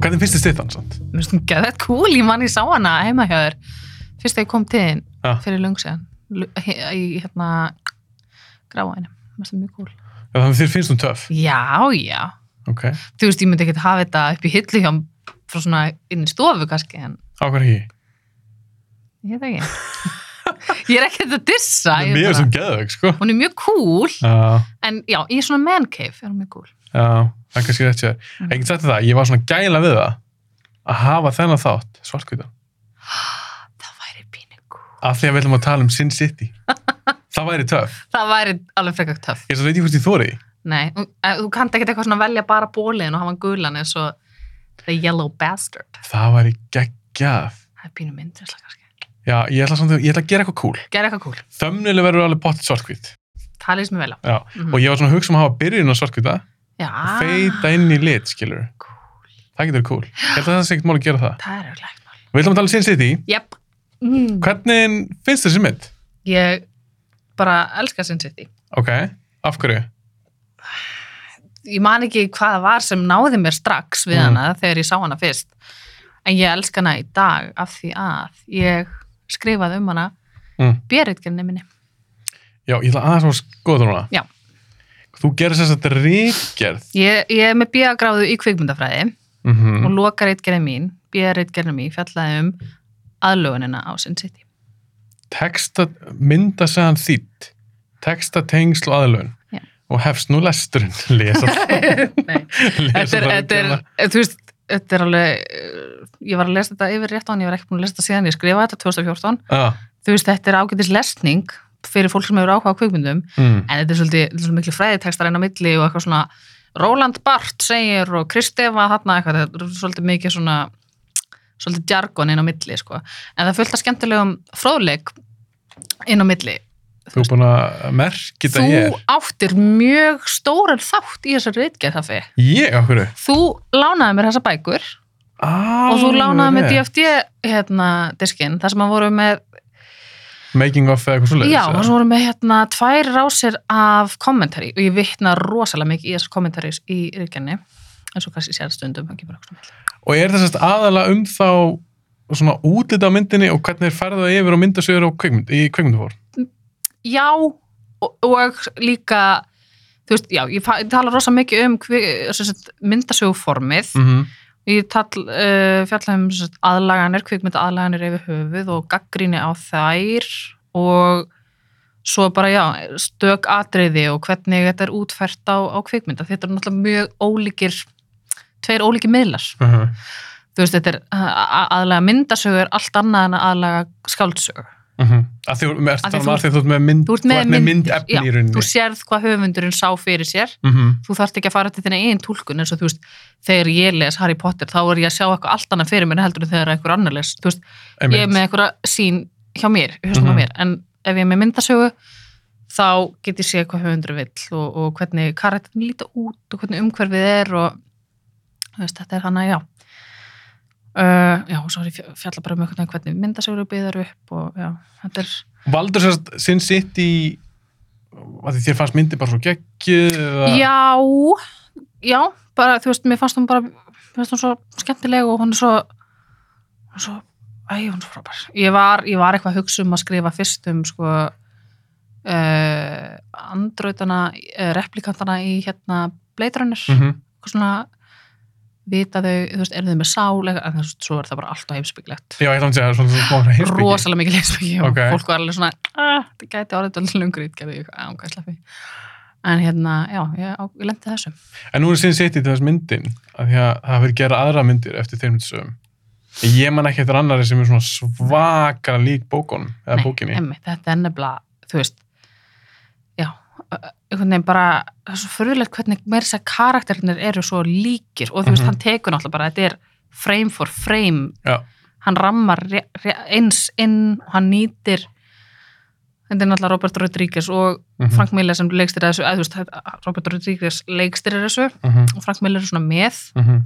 Hvernig finnst þið styttan samt? Mér finnst hún geðvett cool, ég mann ég sá hana heima hjá þér fyrst þegar ég kom til þín Ha. fyrir lung sér í hérna gráinu, mér finnst það mjög cool Já, Þannig að þér finnst hún töff? Já, já, Ok, þú veist ég myndi ekkert hafa þetta upp í hillu hjá frá svona inn í stofu kannski en á hvað ekki? ég veit það ekki Ég er ekkert að dissa ég Mér bara- er svo geðveg, sko. Hún er mjög cool Já, en já, ég er svona man cave er hún mjög cool já, það er kannski rétt sér. Mm. Ekkert sagt það, ég var svona gæla við það að hafa þennan þátt, svartkvítan, Það væri pínu cool af því að við ætlum að tala um Sin City. það væri töff. Það væri alveg frekar töff Ég er svo veit ég hvort ég þóri. Nei, þú- eh, þú kannt ekkert eitthvað svona velja bara bóliðin og hafa hann gulan eins og The Yellow Bastard Það væri geggjaf. Það er pínu myndrisla kannski. Já, ég ætla, samt, að- ég ætla að gera eitthvað cool. Gerð eitthvað cool. Þömmnilu verður alveg potið svartkvít. Það lýst mér vel á. Já, Mhm. og ég var svona að hugsa um að hafa byrjun á svartkvíta Já. og feita inn í lit, skilur. Cool. Það getur cool. Ég held að það sé ekkert mál að gera það. Það er auðvitað ekkert mál. Við ætlum að tala um Sin City. Jep. Mm. Hvernig finnst þér þessi mynd? Ég bara elska Sin City. Ok, af hverju? Ég man ekki hvað það var sem náði mér strax við Mm. hana þegar ég sá hana fyrst. En ég elska hana í dag af því að ég skrifaði um hana Mm. björutgerni minni. Já, ég ætla aðeins að skoða það núna. Já. Þú gerir þess að þetta ríkgerð. Ég, ég er með bjögráðu í kvikmyndafræði Mm og lokareitgerði mín, björeitgerði mín, fjallaði um aðlögunina á Sin City. Texta, mynda segðan þýtt. Texta, tengsl og aðlun. Já. Og hefst nú lesturinn. Lesa Nei. Þetta er, þetta er, eh, þú veist, þetta er alveg, eh, ég var að lesa þetta yfir rétt á hann, ég var ekki búin að lesa þetta síðan, ég skrifaði þetta 2014. Ah, Þú veist, þetta er ágætis lesning fyrir fólk sem hefur áhuga á kvikmyndum, mm, en þetta er svolítið, þetta er svolítið miklu fræðitekst að reyna á milli og eitthvað svona, Roland Barth segir og Kristefa þarna eitthvað, þetta er svolítið mikið svona, svolítið jargon inn á milli, sko. En það er fullt af skemmtilegum fróðleik inn á milli. þú er búin að merki þetta Þú hér. áttir mjög stóran þátt í þessari reitgerð, Hafi. Ég, af hverju? Þú lánaði mér þessa bækur Ah, og þú lánaði með DFD hérna, diskinn, þar sem hann voru með Making of eða eitthvað svo já, þar sem voru með hérna tvær rásir af kommentari og ég vitna rosalega mikið í þessar kommentari í ríkjarni eins og kannski sér stundum hann kemur okkur svona Og er þess að aðala um þá svona útlita á myndinni og hvernig er færða yfil og myndasögur á kveikmynd, í kveikmyndufór? já, og, og líka þú veist, já, ég fa- ég tala rosalega mikið um kvi- sem sagt, myndasöguformið Mm -hmm. ég tall, uh, fjalla um sem sagt, aðlaganir, kvikmynda aðlaganir yfir höfuð og gaggríni á þær og svo bara já, stök atriði og hvernig þetta er útfært á, á kvikmynda þetta er náttúrulega mjög ólíkir tveir ólíkir miðlar þú veist, þetta er eh, a- a- aðlaga myndasögu er allt annað en að aðlaga skáldsögu Mm -hmm. að því, ertu Af því að tala um þú- að því að þú ert með, mynd, þú ert með myndir, myndefni já, í rauninni þú sérð hvað höfundurinn sá fyrir sér mm þú þarft ekki að fara til þína einn túlkun eins og þú veist, þegar ég les Harry Potter þá er ég að sjá eitthvað allt annað fyrir mér heldur en þegar einhver annar les, þú veist, ég er með einhverja sín hjá mér, mm Mhm. mér en ef ég er með myndasögu þá get ég séð hvað höfundur vill og, og hvernig karakterin líta út og hvernig umhverfið er og þú veist, þetta er hann að já uh, já, og svo er ég fj- fjalla bara um einhvern veginn hvernig myndasögur byggðar upp og já, þetta er Valdur sérst Sin City að því þér fannst myndi bara svo geggið eða- Já, já, bara þú veist, mér fannst hún bara, mér fannst hún svo skemmtileg og hún er svo, hún er svo, æ, hún er svo frábær. Ég var, ég var eitthvað að hugsa um að skrifa fyrst um, sko, uh, andrautana, uh, replikantana í hérna bleitrunir, mm Mhm. svona, vita þau, þú veist, eru þau með sálega, en þú veist, svo er það bara alltaf heimsbygglegt. Já, ég ætla að segja svona svona smá heimsbyggi Rosalega mikil heimsbyggi og Ok. fólk var alveg svona, "Ah, þetta gæti orðið alveg lungur ítgerði, ég á, hvað slappi. En hérna, já, ég, á- ég lendi þessu. En nú er Sin City til þess myndin að því að það verið gera aðra myndir eftir þeir myndsögum Ég man ekki eftir annari sem er svona svakara lík bókunum eða bókinni emmi, þetta er nefnilega, þú veist, já, ö- ö- einhvern veginn bara, það er svo fyrirlegt hvernig meira þess að karakterinir eru svo líkir og þú veist, Mhm. hann tekur náttúrulega bara, þetta er frame for frame, Já. hann rammar re- re- eins inn og hann nýtir, þetta er náttúrulega Robert Rodriguez og Mhm, Frank Miller sem leikstir þessu, eða þú veist, þetta- Robert Rodriguez leikstir þessu mhm, og Frank Miller er svona með, mhm.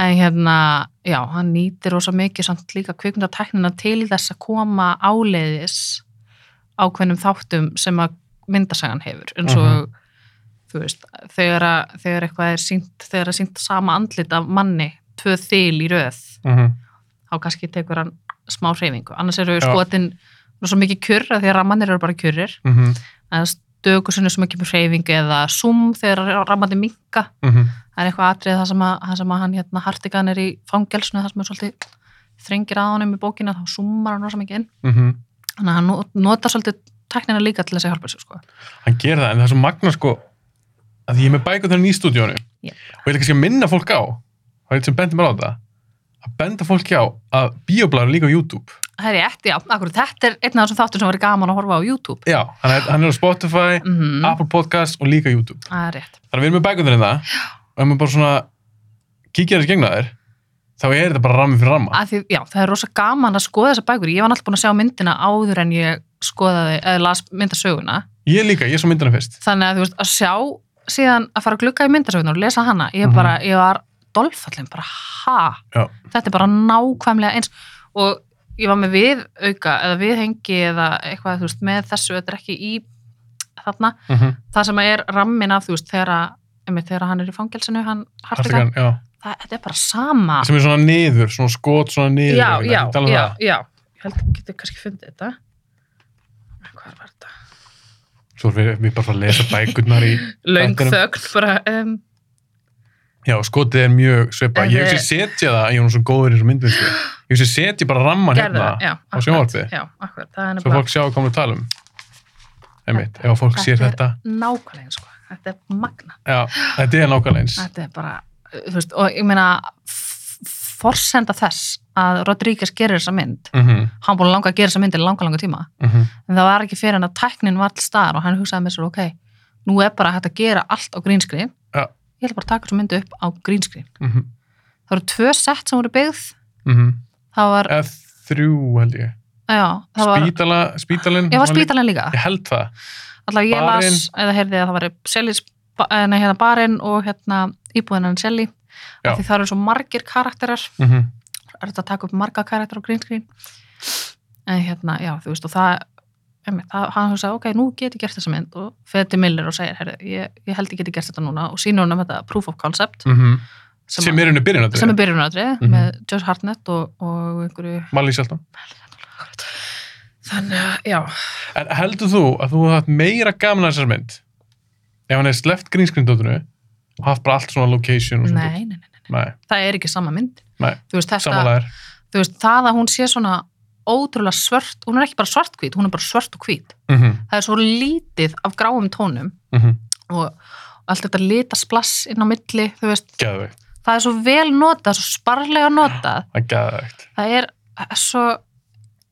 en hérna, já, hann nýtir rosa mikið samt líka kvikmyndatæknina til þess að koma áleiðis ákveðnum þáttum sem að myndasagan hefur eins og þú veist, þegar, að, þegar eitthvað er sínt, þegar er sínt sama andlit af manni tvö þil í röð Mm -hmm. þá kannski tekur hann smá hreyfingu annars eru Já. skotin nú svo mikið kjurr af því að rammanir eru bara kjurrir mhm, en stöku sinni sem ekki með hreyfingu eða zoom þegar rammandi minka mhm, það er eitthvað atrið það sem að, það sem að hann hérna hartigan er í fangelsinu það sem er svolítið þrengir að honum í bókina þá zoomar hann rosa mikið inn mhm. þannig að hann not- notar svolítið teknina líka til þess að hjálpa sér sko Hann gerir það, en það er svo magna sko að ég er með bækur þannig í stúdíónu Yep. og ég vil kannski að minna fólk á það er eitt sem bendir mér á þetta að benda fólki á að bioblæður líka á YouTube það er ég eftir, já, akkur, þetta er einn af þessum þáttum sem var gaman að horfa á YouTube Já, hann er, hann er á Spotify, mm Apple Podcast og líka YouTube það er rétt Þannig að við erum með bækur þannig það og ef maður bara svona kíkja þess gegna þér þá er þetta bara rammi fyrir ramma að því, já, það er rosa gaman að skoða þessa bækur ég var náttúrulega búin að sjá myndina áður en ég skoðaði, eða las myndasöguna Ég líka, ég svo myndina fyrst þannig að þú veist, að sjá síðan að fara að glugga í myndasöguna og lesa hana ég Mhm. bara, ég var dolfallin bara, ha, Já. þetta er bara nákvæmlega eins og ég var með við auka eða viðhengi eða eitthvað, þú veist, með þessu þetta er ekki í þarna, mm -hmm. það sem er rammin af, þú veist, þegar að einmitt, þegar hann er í fangelsinu, hann hartikan, Hartigan, já það, þetta er bara sama sem er svona niður, svona skot svona niður Ah. já, einhvern veginn, já, ekki tala um já, það. já ég held að getur kannski fundið þetta hvað var þetta? Svo erum við, við bara að fara að lesa bækurnar í Löng Þættinum. þögn bara um, Já, skotið er mjög svipa. En Ég við- hugsi setja það, ég er nú svo góður í þessu myndvinnslu. Ég hugsi setja bara ramman gerðu hérna það, já, á sjónvarpið. já, akkurat, það Svo er nefnilega fólk sjá hvað við tala um. Einmitt, ef að fólk Þetta sér er- þetta. nákvæmlega sko, þetta er magna Já, þetta er nákvæmlega eins. þetta er bara, uh, þú veist, og ég meina f- forsenda þess að Rodríguez gerir þessa mynd Mm -hmm, hann búin að langa að gera þessa mynd í langa langa tíma mm -hmm, en það var ekki fyrir hann að tæknin var til staðar og hann hugsaði með sér, ok, nú er bara hægt að gera allt á grínskrin Já. ég ætla bara að taka þessa mynd upp á grínskrin mhm, það voru tvö sett sem voru byggð það var, Eða mhm. þrjú held ég. já, það var Spítala, spítalinn. ég var sem líka- spítalinn líka, Ég held það. alltaf ég Barinn. las eða heyrði að það var Sellis, nei, hérna barinn og hérna íbúðinan Selli Já. af því það eru svo margir karakterar Mm er þetta að taka upp marga karakterar á grínskrín en hérna, já, þú veist og það, emi, það hann hugsaði, ok, nú get ég gert þessa mynd og fer til Miller og segir, heyrði, ég, ég held ég geti gert þetta núna og sínur hann um þetta proof of concept mhm. Sem, er henni byrjunatri. sem er byrjunatri Mhm. með Josh Hartnett og, og einhverju Malí Sjaldan. þannig að, já, En heldur þú að þú hafði haft meira gaman að þessar mynd ef hann hefði sleppt grínskrindotunni og haft bara allt svona location og svona? dót? nei, nei, nei, nei, Nei, það er ekki sama mynd Nei, þú veist, þetta, samanlegar. þú veist, það að hún sé svona ótrúlega svört, hún er ekki bara svartkvít, hún er bara svört og hvít. Mm Það er svo lítið af gráum tónum Mhm. og allt þetta litasplass inn á milli, þú veist, Geðveikt, það er svo vel notað, svo sparlega notað. það er geðveikt. Það er eh, svo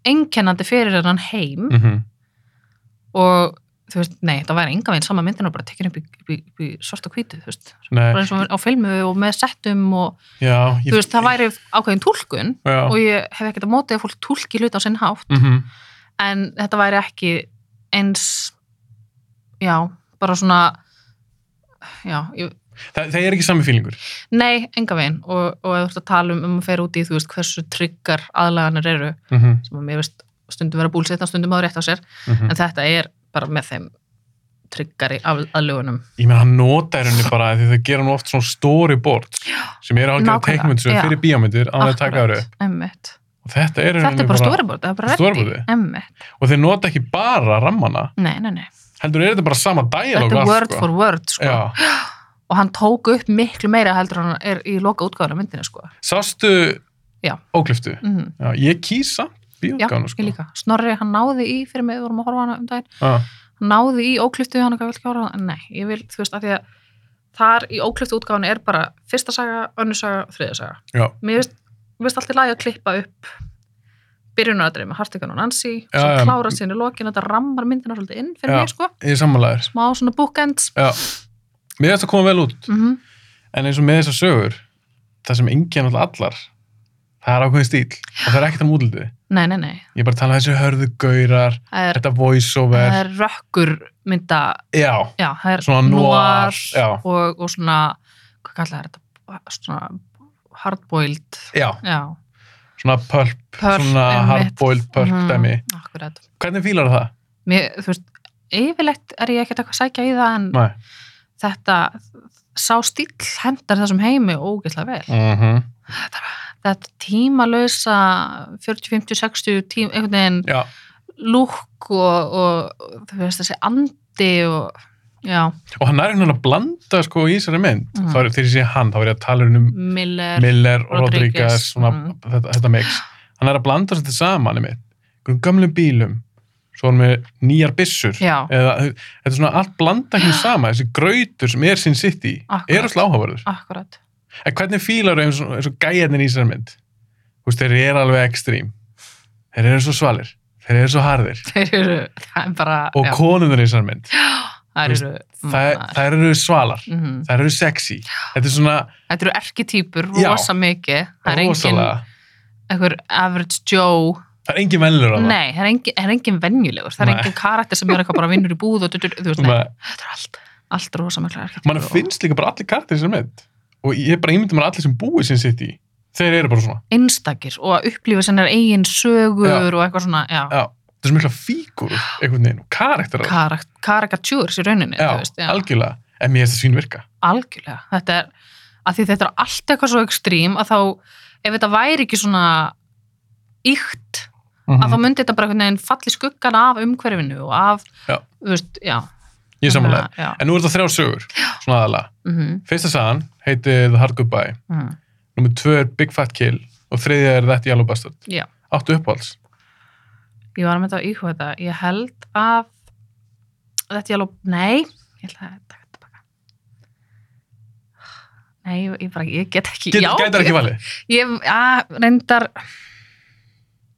einkennandi fyrir hennan heim Mm -hmm. og þú veist, nei, það væri enga veginn sama myndin og bara tekin upp í, upp í, upp í svart og hvítu, þú veist, bara Nei, eins og á filmu og með settum og, já, ég, þú veist, það væri ákveðin túlkun já. og ég hef ekkert að móti að fólk túlki hluti á sinn hátt Mhm, en þetta væri ekki eins já, bara svona já, ég, Þa, það er ekki sami fílingur. nei, enga veginn og, og ef þú ert að tala um, um að fer út í þú veist hversu tryggar aðlaganir eru Mm -hmm. sem að mér veist stundum vera búlsitt og stundum að rétt á sér Mhm. en þetta er bara með þeim tryggari af, aðlugunum Ég meina, hann nota í henni bara því það gera hann oft svona storyboards sem eru algjörða nákvæmlega, teikmyndsum já. fyrir bíómyndir á það að taka þér upp. emmitt Og þetta er, í þetta rauninni er bara storyboard, það er bara reddi Storyboardið? emmitt, Og þeir nota ekki bara rammana, nei, nei, nei heldur er þetta bara sama dialog. þetta er word for word sko. Já. og hann tók upp miklu meira heldur en hann er í loka útgáðan á myndinu sko. Sástu Já. ókliftu? mm. Já, ég kýsa Já, bíótgánu sko. ég líka. Snorri, hann náði í, fyrir mig, við vorum að horfa á hana um daginn, Já, hann náði í ókliftu hann eitthvað vil ekki horfa á hana, nei, ég vil, þú veist, af því að þar í ókliftu útgáðan er bara fyrsta saga, önnur saga, þriða saga. já, Mér veist, mér veist alltaf lægi að klippa upp byrjunaradrið með Hartigan og Nancy, Já, svo já. klára síðan í lokin, þetta rammar myndina svolítið inn fyrir Já. mig, sko, ég er sammálaður. smá svona bookends. Já, mér finnst að koma vel út. Mm En eins og með þessar sögur, það sem enginn alltaf allar, það er ákveðin stíl og það er ekkert um útlitið. Nei, nei, nei, Ég er bara að tala um þessu hörðu gaurar, það er, þetta voiceover, það er rökkur mynda, já, já, það er Svona noir, já. og, og svona, hvað kallar þetta, svona hardboiled já, Já, svona pulp, pörf, svona hardboiled pulp Mhm. dæmi. Akkurat. Hvernig fílar það? Mér, þú veist, yfirleitt er ég ekkert eitthvað að sækja í það en Nei. þetta, sá stíll hendar þessum heimi ógeðslega vel. Mm -hmm. þetta tímalösa 40, 50, 60 tím, einhvern veginn Já, lúk og, og þú veist þessi andi og já, og hann er einhvern veginn að blanda sko í þessari mynd. Mhm. Þá er þegar ég sé hann, þá er ég að tala um Miller Miller og Rodriguez, Rodriguez, svona, mm. þetta, þetta mix. Hann er að blanda þetta saman einmitt. Einhverjum gömlum bílum, svo hann með nýjar byssur. Já. Eða, þetta er svona allt blanda hérna saman, þessi grautur sem er sinn sitt í, Akkurat. er alltaf áhugaverður. akkurat En hvernig fílar eins og, eins og gæjarnir í þessari mynd? Þú veist, þeir eru alveg ekstrím. Þeir eru svo svalir, þeir eru svo harðir. þeir eru, það er bara Og já, Mm, konunur í þessari mynd, það veist, eru það, það eru svalar. Mhm. Það eru sexy. Þetta er svona Þetta eru erketýpur, Já. rosa mikið það er engin, rosalega. einhver average Joe Það er engin vennlur á það. nei, það er engin, það er engin venjulegur það er Nei. engin karakter sem er eitthvað bara vinnur í búð og dutur, þú veist, nei, Nei. þetta er allt allt rosa mikla erketýpur Man finnst líka bara allir kartir sem mynd. Og ég bara ímyndi mér að allir sem búið sem sitt í. Þeir eru bara svona. einstakir og að upplifa sinnar eigin sögur Já. og eitthvað svona, já, Já. Það er svo mikla fígur einhvern veginn og karakterar. Karak karakatjúrs í rauninni, já, þú veist, já, algjörlega. En mér finnst það svín virka. algjörlega þetta er, að því þetta er allt eitthvað svo ekstrím að þá, ef þetta væri ekki svona ykt, Mm að þá myndi þetta bara einhvern veginn falli skuggan af umhverfinu og af, Já. þú veist, já Ég samanlega. Þannig að- já, En nú er þetta þrjá sögur, svona aðalega. mhm, Fyrsta sagan heitir The Hard Goodbye. mhm. Númer tvö er Big Fat Kill. Og þriðja er That Yellow Bastard. Já. Áttu uppáhalds. ég var með þetta að íhuga þetta ég held að þetta ég alveg, nei ég held að taka þetta baka nei, ég, ég bara, ég get ekki Get, já, gætar ekki valið. ég, að, reyndar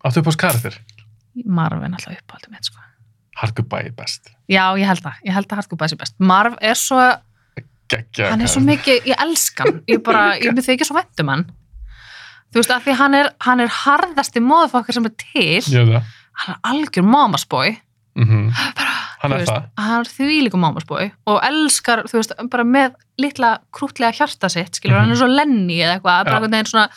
Áttu uppáhalds karakter. Marv er náttúrulega uppáldum mitt sko. Hard Goodbye er best. já, ég held það, ég held að Harkuba sé best Marv er svo, Gekkja. hann er svo mikið ég elska hann, ég bara, ég myndi ekki svo væntum hann þú veist, af því hann er hann er harðasti móðufokkar sem er til Ég veit það. hann er algjör mámasbói Mhm. Hann Þú er veist, það. hann er því líka mámasbói og elskar, þú veist, bara með litla krútlega hjarta sitt, skilur, Mhm. hann er svo lenni eða eitthvað, bara Já. einhvern veginn svona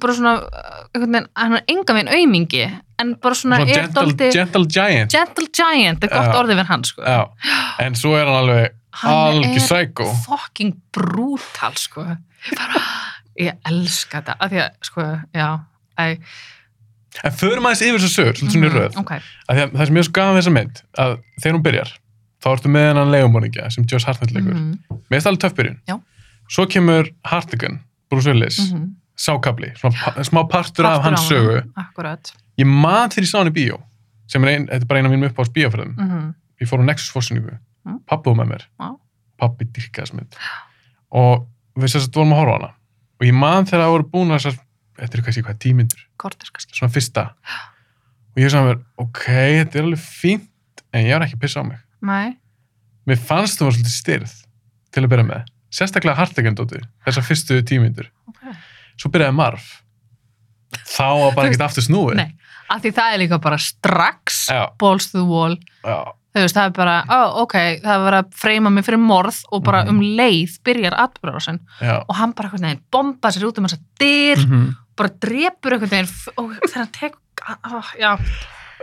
bara svona, einhvern veginn hann er enga veginn aumingi, en bara svona, Svona er gentle, dólti gentle giant. gentle giant, er Já. gott orðið við hann sko. Já, en svo er hann alveg hann algjör sækó. fucking brútal sko. bara, ég elska þetta af því að, sko, já æ, En förum aðeins yfir þessu sögur, svolítið svona í röð. mhm, ok, Af því að Það sem ég sko gaf þessa mynd, að þegar hún byrjar, þá ertu með hennan leigumorningja sem Josh Hartnett leikur. Mm -hmm. mhm, Mér finnst það alveg töff byrjun. Já. Svo kemur Hartigan, Bruce Willis, mhm. sákabli, svona pa smá partur, af Partur hans af sögu. honum, akkurat Ég man þegar ég sá hann í bíó, sem er ein, þetta er bara eina mínum upp á spíafræðum. mm ég fór á Nexus fórsynningu Mm. pappi var með mér Já. pappi dyrkaði þess mynd og við sérst vorum að horfa á hana og ég man þegar það voru búin að þessar þetta er kannski hvað tímyndur, kortir kannski svona fyrsta og ég sagði mér, ok, þetta er alveg fínt en ég var ekki að pissa á mig Nei. mér fannst þú var svolítið styrð til að byrja með, sérstaklega hartegjöndóti þessar fyrstu tímyndur Okay. svo byrjaði marf þá var bara ekkert aftur snúið Nei, af því það er líka bara strax Já. balls to the wall Já, þú veist, það er bara, oh, ok, það er verið að freyma mig fyrir morð og bara Mhm. um leið byrjar atbyrðarásin já. og hann bara einhvern veginn bomba sér út um þess að dyr, Mhm. bara drepur einhvern veginn f- og þegar hann tek oh, já,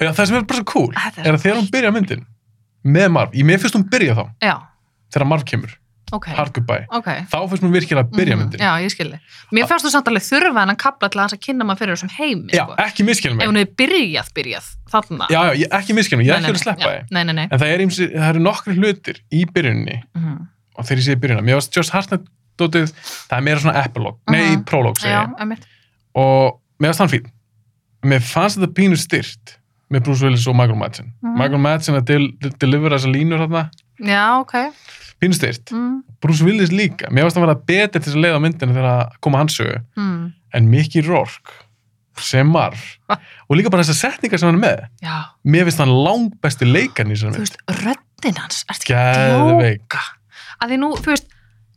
Já, það sem er bara svo cool Þetta Ah, er er að þegar hún byrja myndin með Marv, ég mér finnst hún byrja þá já, þegar Marv kemur, ok Hard Goodbye ok, þá finnst hún virkilega að byrja Mhm, myndin já, ég skilði, mér fannst þú samt alveg þurfa hann að kapla til að hans að kynna maður fyrir þessum heimi já, sko. ekki miskilum ef mig hún hefði byrjað, byrjað þarna já, já, ég- ekki miskilum mig, ég er ekki að sleppa já, þið nei, nei, nei. en það, er, ýmsi- það eru nokkri hlutir í byrjunni Mhm. og þegar ég sé byrjunna, mér varst Josh Hartnett dótið, það er meira svona epilog nei, Mhm. prolog segi já, ég einmitt. og mér varst hann fín mér fannst þetta pínu styrt með Bruce Willis og Michael Madsen Mhm. Michael Madsen að del, del, delivera þessa línur þarna, já, ok pínu styrt mm. Bruce Willis líka, mér varst að vera betur til þess að leiða myndinu þegar að koma hans sögu Mm. en Mickey Rourke sem marf og líka bara þessar setningar sem hann er með já, mér finnst hann langbesti leikarn í þessari þú mynd veist, röddinn hans ert ekki að Geðveik. djóka að því nú, þú veist,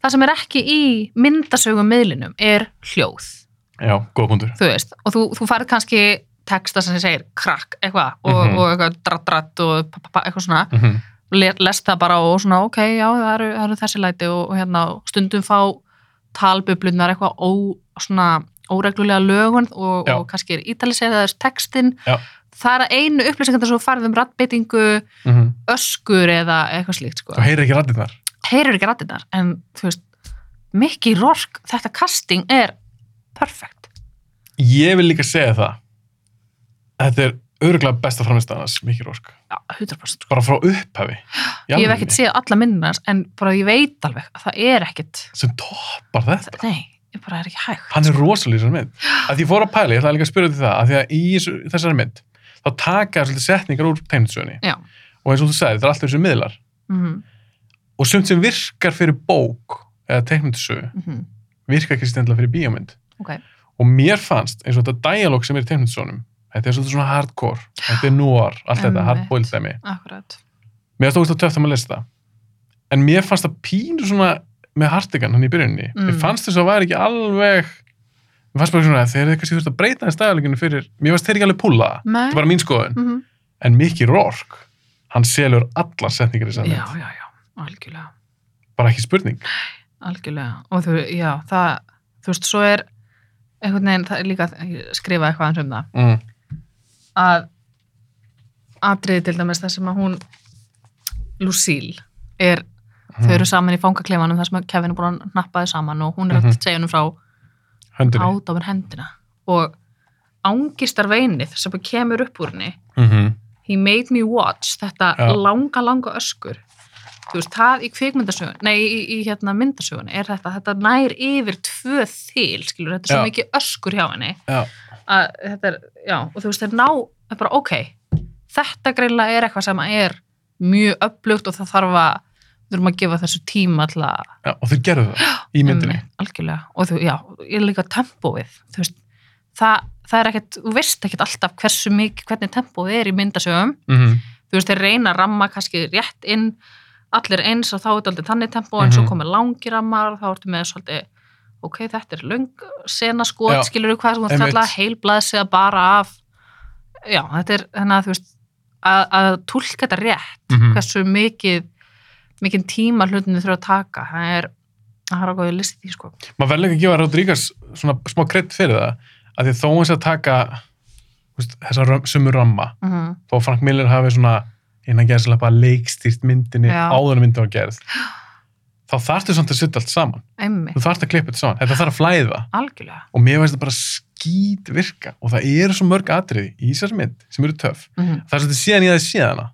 það sem er ekki í myndasögum miðlinum er hljóð, já, góða punktur þú veist og þú, þú farið kannski texta sem segir krakk, eitthvað, og, Mhm. og eitthvað dratt, dratt og pa, pa, pa, eitthvað svona mm -hmm. Le- lest það bara og svona, ok, já, það eru, það eru þessi læti og, og hérna, og stundum fá talbublunar eitthvað ó, svona óreglulega lögun og, Já. og kannski er ítalisegð eða textin, Já. það er einu upplýsingar sem þú farið um rattbyttingu öskur eða eitthvað slíkt, sko og mhm. heyrir ekki rættið þar heyrir ekki rættirnar en þú veist, Mickey Rourke þetta casting er perfekt Ég vil líka segja það. Þetta er örgulega besta framistæðans, Mikki Rósk. Já, 100% sko. Bara frá upphafi. í ég hef alvörunni, ekkert séð alla myndina hans en bara ég veit alveg að það er ekkert Sem toppar þetta. það, nei, ég bara er ekki hægt Hann er rosalýr sem mynd. Að því ég fór að pæla, ég ætlaði líka að spyrja út í það, að því að í þessu- þessari mynd, þá taka svolítið setningar úr teimtsögunni. Já. Og eins og þú sagði, þetta er alltaf þessu miðlar. mm Og sumt sem virkar fyrir bók eða teimtsögu, -hmm. virkar ekki stendla fyrir bíómynd. ok, Og mér fannst, eins og þetta dialog sem er í teimtsögunum, þetta er svolítið svona hardcore, þetta er noir, allt þetta, Einmitt. hardboiled dæmi. akkurat Mér finnst ógust að töfta maður að lesa það. En mér fannst það pínu svona með hartigan hann í byrjunni. Mm. Mér fannst þess að það væri ekki alveg... Mér fannst bara svona að þeir eru kannski þurft að breyta þessi dagalegunum fyrir... Mér fannst þeir ekki alveg púla það. Nei. Þetta er bara mín skoðun. mm En Mickey Rourke, hann selur allar setningar í sann. já, já, já, algjörlega Bara ekki spurning. algjörlega og þú, já, það, þú veist, svo er einhvern veginn, það er líka ég skrifa eitthvað aðeins um Mm. það að atriði til dæmis þar sem að hún Lucille er, mhm. þau eru saman í fangaklefanum þar sem að Kevin er búin að nappaði saman og hún er að Mhm. segja hennum frá Höndinni. ádáfin hendina og ángistar veinið sem bara kemur upp úr henni Mm -hmm. he made me watch Já. þetta langa, langa öskur þú veist, það í kvikmyndasögun nei, í, í hérna myndasögun er þetta þetta nær yfir tvö þil skilur, þetta er svo Já. mikið öskur hjá henni Já. að þetta er, já, og þú veist, þeir ná það er bara, ok, þetta greinlega er eitthvað sem er mjög upplugt og það þarf að, við þurfum að gefa þessu tíma til að Já, og þeir gerðu það í myndinni. Einmitt, algjörlega, og þú, já, ég er líka tempóið, þú veist það, það er ekkert, þú veist ekkert alltaf hversu mikið, hvernig tempóið er í myndasögum Mm þú veist, þeir reyna að ramma kannski rétt inn allir eins og þá er þetta aldrei þannig tempó en Mhm. svo komið langi rammar og þá ertu með svolítið, ok, þetta er löng sena Já, skot, skilur þú hvað þú ert einmitt. kallað heilblaðsega bara af já, þetta er, þannig að þú veist að, að tólka þetta rétt mhm. hversu mikið mikið tíma hlutinu þurfa að taka það er, það er að góða listið því sko maður verður líka að gefa Rodríguez svona smá kredd fyrir það að því þó hans að taka þú veist, þessa römm- sömu ramma mm þó að Frank Miller hafi svona innan gerðslega bara leikstýrt myndinni Já. áður en myndin var gerð þá þarftu samt að setja allt saman einmitt, þú þarft að klippa þetta saman, þetta þarf að flæða algjörlega og mér veist það bara skýt virka og það eru svo mörg atriði í þessari mynd sem eru töff, mm það er svolítið síðan ég að sé hana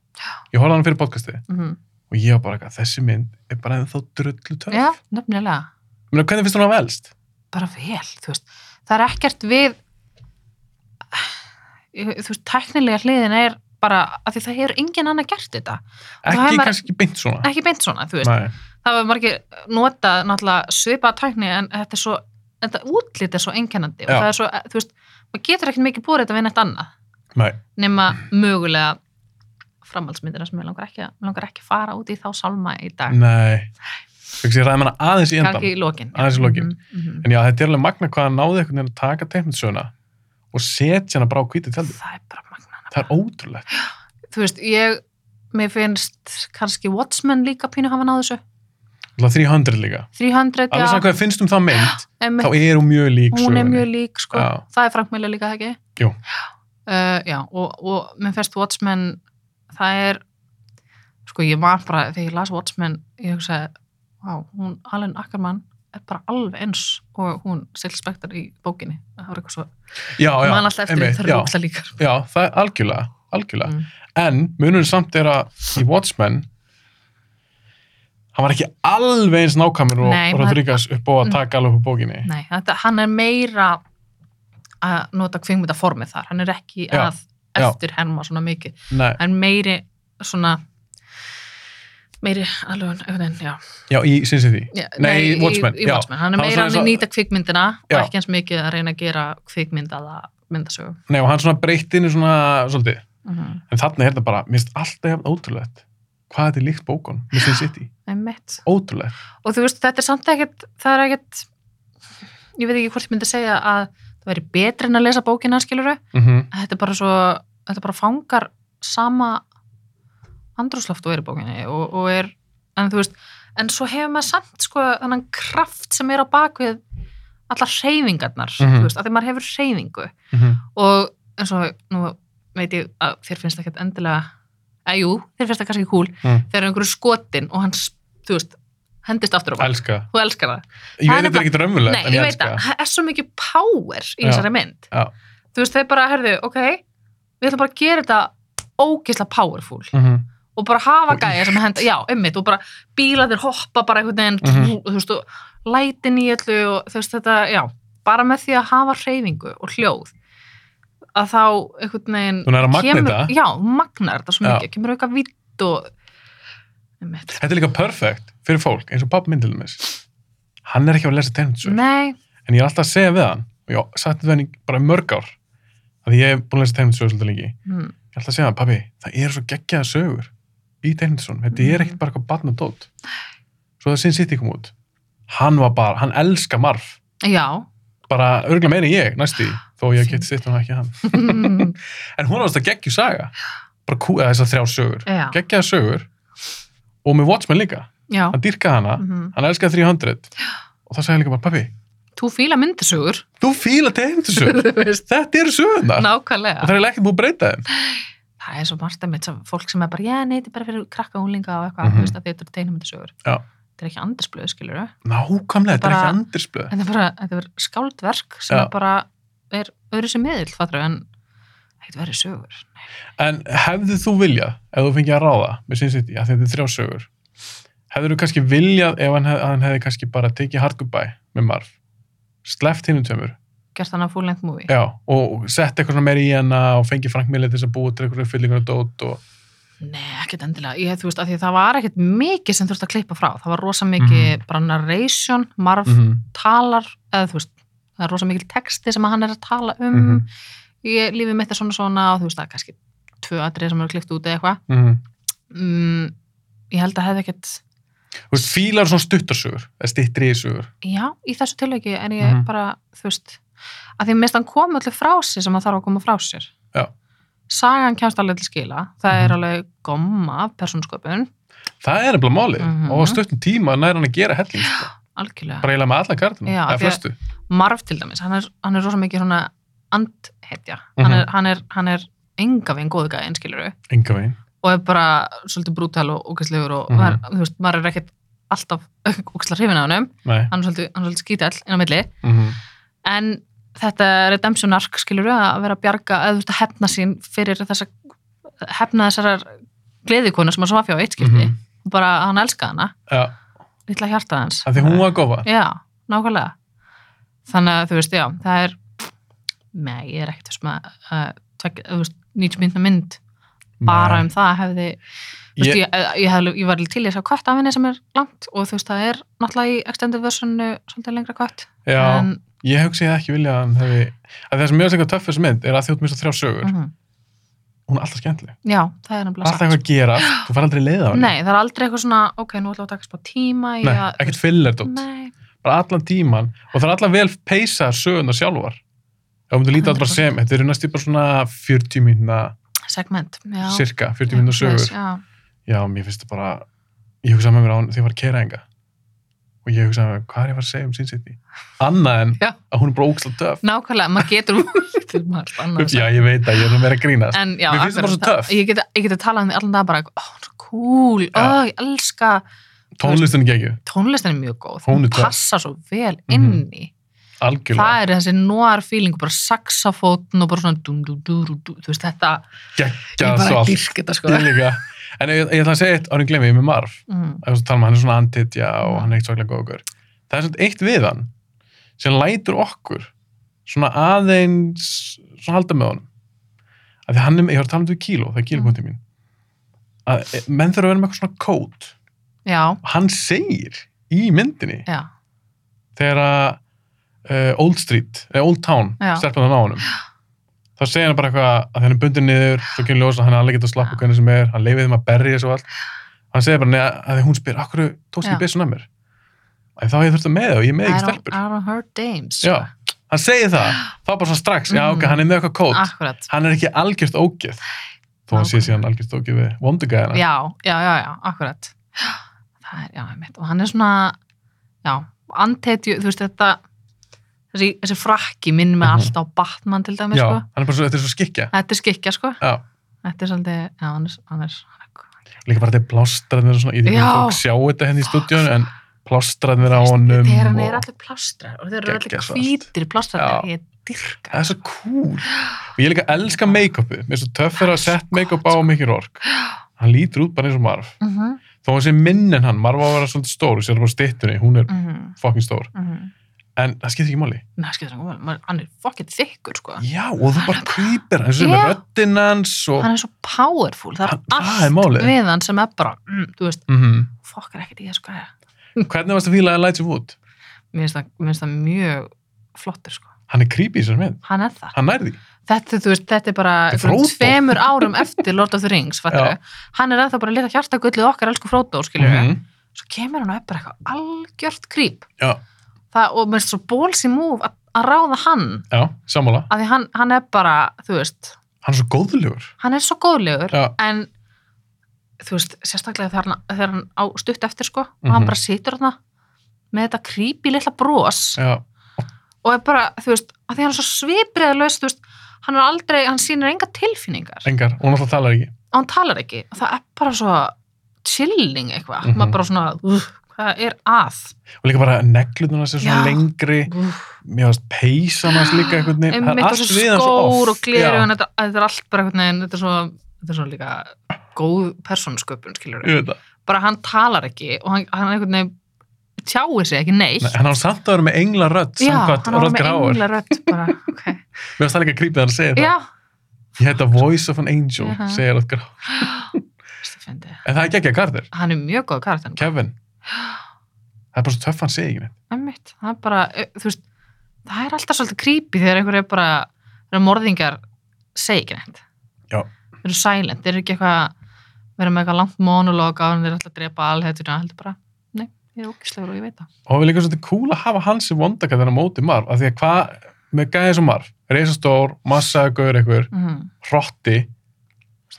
ég horfði á hana fyrir podcastið -hmm. og ég var bara eitthvað, þessi mynd er bara ennþá drullu töff já, nefnilega Meina, hvernig finnst hún að velst? bara vel, þú veist, það er ekkert við þú veist, tæknilega hliðin er bara, af því það hefur engin annað gert þetta, Það ekki er maður- kannski beint svona ekki beint svona, þú veist Nei. það var margir notað náttúrulega svipað tækni en þetta er svo þetta útlit er svo einkennandi Já. og það er svo, þú veist, maður getur ekkert mikið búið þetta við neitt annað, Nei. nema mögulega framhaldsmyndina sem ég langar ekki, að- mig langar ekki að fara út í þá sálma í dag, Nei, kannski ég ræði manna aðeins í endan. kannski í lokin Aðeins í lokin. mm -hmm. En já, þetta er alveg magna hvað hann náði einhvern veginn að taka teikmyndsöguna og setja hana bara á hvítið tjaldi. það er bara magnana Það er ótrúlegt. þú veist, ég mér finnst kannski Watchmen líka pínu hafa náðu þessu, Það er 300 líka. 300 Alveg saman já, hvað þér finnst um það mynd, einmitt, þá er hún mjög lík hún er mjög lík. lík sko, Já. það er Frank Miller líka það ekki Jú. uh, já, og, og mér finnst Watchmen það er sko ég var bara, þegar ég las Watchmen ég hugsaði, vá, hún Alan Ackerman er bara alveg eins og hún Sill Spector í bókinni það var eitthvað svo, Já, já. mann alltaf eftir einmitt, það já, eru ókslega líkar já, það er algjörlega, algjörlega. Mm. En munurinn samt er að í Watchmen hann var ekki alveg eins nákvæmur og Nei, Mm. maður- Rodríguez upp á að taka alveg upp á bókinni. Nei, þetta, hann er meira að nota kvinkmyndaformið þar hann er ekki Já, að já. eftir herma svona mikið, Nei. hann meiri svona meiri alveg, einhvern veginn, já Já, í Sin City. Já, Nei, í Watchmen, í, já. Watchmen. hann er Það var meira svona að eins og- nýta kvikmyndina og Já. ekki eins mikið að reyna að gera kvikmyndaða myndasögu Nei, og hann svona breyttinu svona, svolítið, mm -hmm. En þarna er þetta bara, mér finnst alltaf jafn ótrúlegt. Hvað þetta er líkt bókun með Sin City? Ótrúlegt. og þú veist, þetta er samt ekkert það er ekkert ég veit ekki hvort ég myndi segja að það væri betra en að lesa bókina skiluru Mm -hmm. þetta er bara svo, þetta bara fangar sama andrúsloft og er í bókinni og, og er, en þú veist, en svo hefur maður samt sko þannan kraft sem er á bakvið allar hreyfingarnar, Mhm. þú veist, að því maður hefur hreyfingu og eins og nú veit ég að þér finnst ekkert endilega, að jú, þér finnst það kannski kúl, Mm. þegar einhverju skotin og hann, s- þú veist, hendist aftur á bak. Elska. Þú elskar það. Ég Það er veit þetta er ekkit raunmulegt, Nei, en ég ég veit elska það. það. Það er svo mikið power í Já. þessari mynd. Já. Þú veist, þeir bara, herðu, ok, við ætlum bara að gera þetta ógeðslega powerful Mhm. og bara hafa Og í- gæja sem henda, já, einmitt, og bara bílarnir hoppa bara einhvern veginn, Mhm. þú veist, og lætin í öllu og þú veist, þetta, já, bara með því að hafa hreyfingu og hljóð að þá einhvern veginn Þú nær að magna þetta. já, magnar þetta svo Já. mikið, kemur auka vitt og einmitt. Þetta er líka perfekt fyrir fólk, eins og pappminn til dæmis. Hann er ekki að lesa tegnumsögur. Nei, En ég er alltaf að segja við hann, og ég hef sagt þetta við hann í bara í mörg ár, að ég hef búin að lesa tegnumsögur svolítið lengi. mm, Ég er alltaf að segja hann, pappi, það eru svo geggjaða sögur í tegnumsögun. Þetta er ekkit bara eitthvað barn og dótt. Svo það sinn sitt ég kom út. Hann var bara, hann elska marf. já, Bara örgulega meira en ég, næstu, í, þó ég get Fyndið. sitt og ekki hann. Mm, En hún var alltaf geggjuð saga. Bara kú, eða þessar þrjár sögur. já, Geggjaða sögur. Og með Watchmen líka. já. Hann dýrkaði hana. mhm. hann elskaði 300 og það sagði hann líka bara, pappi, Þú fíla myndisögur, þú fíla tegundisögur þú veist, þetta eru sögurnar nákvæmlega. og það er ekkert búið að breyta þeim það er svo margt að mitt sem fólk sem er bara, já, nei, þetta er bara fyrir krakka og úlinga og eitthvað, Mhm. þú veist að þetta eru teinumyndisögur. Já. Þetta er ekki andisblöð, skilur þau. nákvæmlega, þetta er Bara- ekki andirsblöð En þetta er bara, þetta er skáldverk sem Já. er bara, er öðru sem miðill, fattur þau, en ekkert verið sögur. en hefðu þú viljað, ef þú fengið að ráða með Sin City, að þetta er þrjá sögur hefðu þú kannski viljað ef hann, hef, að hann hefði kannski bara tekið Hard Goodbye með Marv, sleft hinnum tömur Gert þannig að full-length movie. já, og sett eitthvað svona meira í hana og fengið Frank Miller til þess að búa til eitthvað fyllingar og dót og Nei, ekkert endilega. Ég, þú veist, að því það var ekkert mikið sem þurfti að klippa frá. Það var rosa mikið Mhm. bara narration, marf, mm talar, eða þú veist, það er rosa mikil texti sem að hann er að tala um. Mhm. Ég, lífið mitt er svona svona og þú veist, það er kannski tvö atrið sem eru klipt út eða eitthvað. -hmm. mm, ég held að hefði ekkert þú veist, fílar svona stuttarsögur eða stittri sögur já, í þessu tilöki er ég Mhm. bara þú veist, að því minnst hann kom öllu frá sér sem hann þarf að koma frá sér Já. sagan kemst alveg til skila það er Mhm. alveg gomma af persónsköpun Það er nefnilega málið Mhm. og á stuttum tíma nær hann að gera helling sko. algjörlega, bara eiginlega með alla kartina, Já, eða af því að- flestu marf til dæmis hann er, hann er rosa mikið svona andhetja hann, Mhm. er, hann, er, hann er enga veginn góðu gæðin skiluru enga veginn, og er bara svolítið brútal og ógæslegur og Mhm. maður, þú veist, maður er ekkert alltaf ógæslega hrifin af honum nei hann er svolítið, hann er svolítið skítall inn á milli mm en þetta redemption arc skilur að vera að bjarga eða þú veist að hefna sín fyrir þessa hefna þessarar gleðikonu sem að svafja á eitt skipti Mhm. bara að hann elska hana, Já, lilla hjartað hans af því hún var gófa já, nákvæmlega þannig að þú veist, já, það er með, ég er ekkert þessum að uh, tvek, þú veist, 90 myndna mynd bara um það hefði þú veist, Ég- ég, eh, ég, ég, hef, ég var alveg til í þess að kött af henni sem er langt og þú veist, það er náttúrulega í extended versionu svolítið lengra kött Já, en, ég hugsi ég ekki vilja að hann hefði að það sem mjög sengar töffis mynd er að þjótt mista þrjá sögur mhm. hún er alltaf skemmtileg, já, það er nefnilega alltaf eitthvað að gera þú fær aldrei leið á henni, Nei, það er aldrei eitthvað svona, ok, nú ætlum við að taka spá tíma í Nei, að- ekkert fillerdótt Nei, bara allan tíman og það er allan vel peysa söguna sjálfar ef um þú lítið að bara 100%. sem, þetta eru næst í bara svona 40 minna, segment, já. cirka 40 minna Já, svoleiðis, sögur Já, já, mér finnst það bara ég hugsaði með mér á hann þegar ég var að kera enga og ég hugsaði með mér, hvað er ég að fara að segja um Sin City annað en Já. að hún er bara ógslag töff nákvæmlega, maður getur til margt annars. já, ég veit að ég er nú meira að grínast En já, Mér finnst það bara svo akkurat töff. Ég geti, ég geti talað um því allan dag bara, ó, hún er svo cool, Já. ó, ég elska, tónlistin gegju, tónlistin er mjög góð, Hún er töff. Mhm. passa svo vel inn í. algjörlega Það er þessi noir feeling, bara saxafótn og bara svona dum, dum, dum, dum, dum, þú veist þetta, ég geggja svo er bara að allt dyrka þetta sko. ég líka, en ég, ég ætla að segja eitt ánum glemmi með Marv, Mm, ef þú tala um hann er svona antitja og Mm. hann er eitt svaklega góður það er svona eitt við hann sem lætur okkur svona aðeins svona halda með honum að því hann er, ég var að tala um því kíló, það er kílókvöndi mín að eh, menn þurfa að vera með eitthvað svona kót Já, hann segir í myndinni já, þegar að uh, Old Street, eða Old Town Já. stelpan hann á honum þá segir hann bara eitthvað að hann er bundin niður svo kemur ljósa, hann er alveg getað að slappa Já. hvernig sem er hann leifið þeim að berja svo allt hann segir bara neða að því hún spyr akkur tókst Já. ekki byssun að mér en þá hef ég þurft að með það og ég er með I ekki don't, stelpur I don't hurt dames sko. já, hann segir það, þá bara svona strax já Mm. ok, hann er með eitthvað kót, Akkurat hann er ekki algjört ógeð þó hann sé Nákvæmlega. síðan algjört ógeð við vondugæðina já, já, já, já, akkurat það er, já, mitt, og hann er svona já, antetju, þú veist þetta þessi, þessi frakki minn með Mhm. allt á Batman til dæmis, sko hann er bara svo, þetta er svo skikja þetta er skikja, sko, já. þetta er svolítið já, hann er, hann er líka bara þetta er plástrað og svona, ég veit ekki Já. hvort fólk sjá þetta henni í stúdíun en plástranir á honum þegar hann og- er allir plástra og þeir eru allir Geggjað svart. hvítir plástra Já. ég dyrka það er svo cool og ég líka elska make-upið mér er svo töff Það er er að setja svo make-up gott, sko. á mikið rork hann lítur út bara eins og marf Mhm, þó hann sé minn en hann, marf á að vera svolítið stór sér bara stittunni, hún er mhm, fucking stór mhm. en það skiptir ekki máli Nei, það skiptir engum máli. hann er fokkið þykkur sko já, og þú Hann bara creepir eins og Já. með röddinn hans og hann er svo powerful, það er Hann- það er allt málið. við hann sem er bara mm, þú veist, Mhm. fokkar ekkert í þessu gæja hvernig varst að fíla að læta sér út? mér finnst það, mér finnst það mjög flottur sko, hann er creepy í sér með, hann er það hann nærði þetta, þú veist, þetta er bara Þetta er einhverjum Frodo. tveimur árum eftir Lord of the Rings fattarðu. hann er ennþá bara að lita hjartagullið okkar elsku Frodo, skiljum við Mhm. svo kemur hann og er bara eitthvað algjört krýp já, það, og mér finnst svo bólsi múf að, að ráða hann já, sammála af því hann, hann er bara, þú veist hann er svo góðlegur hann er svo góðlegur já, en þú veist, sérstaklega þegar hann, þegar hann á stutt eftir sko og hann Mhm. bara situr þarna með þetta creepy litla bros já, og er bara, þú veist, að því hann er svo svipriðalaus þú veist, hann er aldrei, hann sýnir enga tilfinningar engar, og náttúrulega talar ekki og hann talar ekki og það er bara svo chilling eitthvað, Mhm. maður bara svona uh, hvað er að og líka bara neglutuna sér svona Já. lengri uh, mér varst peysan hans líka einhvern veginn einmitt og svo skór og gleru já, þetta, þetta er allt bara einhvern veginn þetta er svo, þetta er svo líka góð persónsköpun, skilur ég veit það bara hann talar ekki og hann, hann einhvern veginn tjáir sig ekki neitt Nei, hann á samt að vera með engla rödd já, samkvæmt hann var með Rodger Hauer mér engla rödd bara, ok varst það líka creepy þegar hann segir það já, ég heit að voice of an angel Jaha. segir Rodger Hauer Veistu, fyndi. en það er ekki að Carter, hann er mjög góð karakter Kevin það er bara svo töff hann segir ekki neitt Einmitt, það er bara, eh, þú veist, það er alltaf svolítið creepy þegar einhver er bara, þegar morðingar segja ekki neitt. Já. Þeir eru silent, þeir eru ekki eitthvað, vera með eitthvað langt monolog á hann, þeir eru alltaf að drepa alhetjuna, heldur bara, nei, ég er ókislegur og ég veit það. og það er líka svolítið cool að hafa hans í vondaka þegar hann móti Marv af því að hvað, með gæði sem Marv reisastór, massa, gaur einhver Mm. hrotti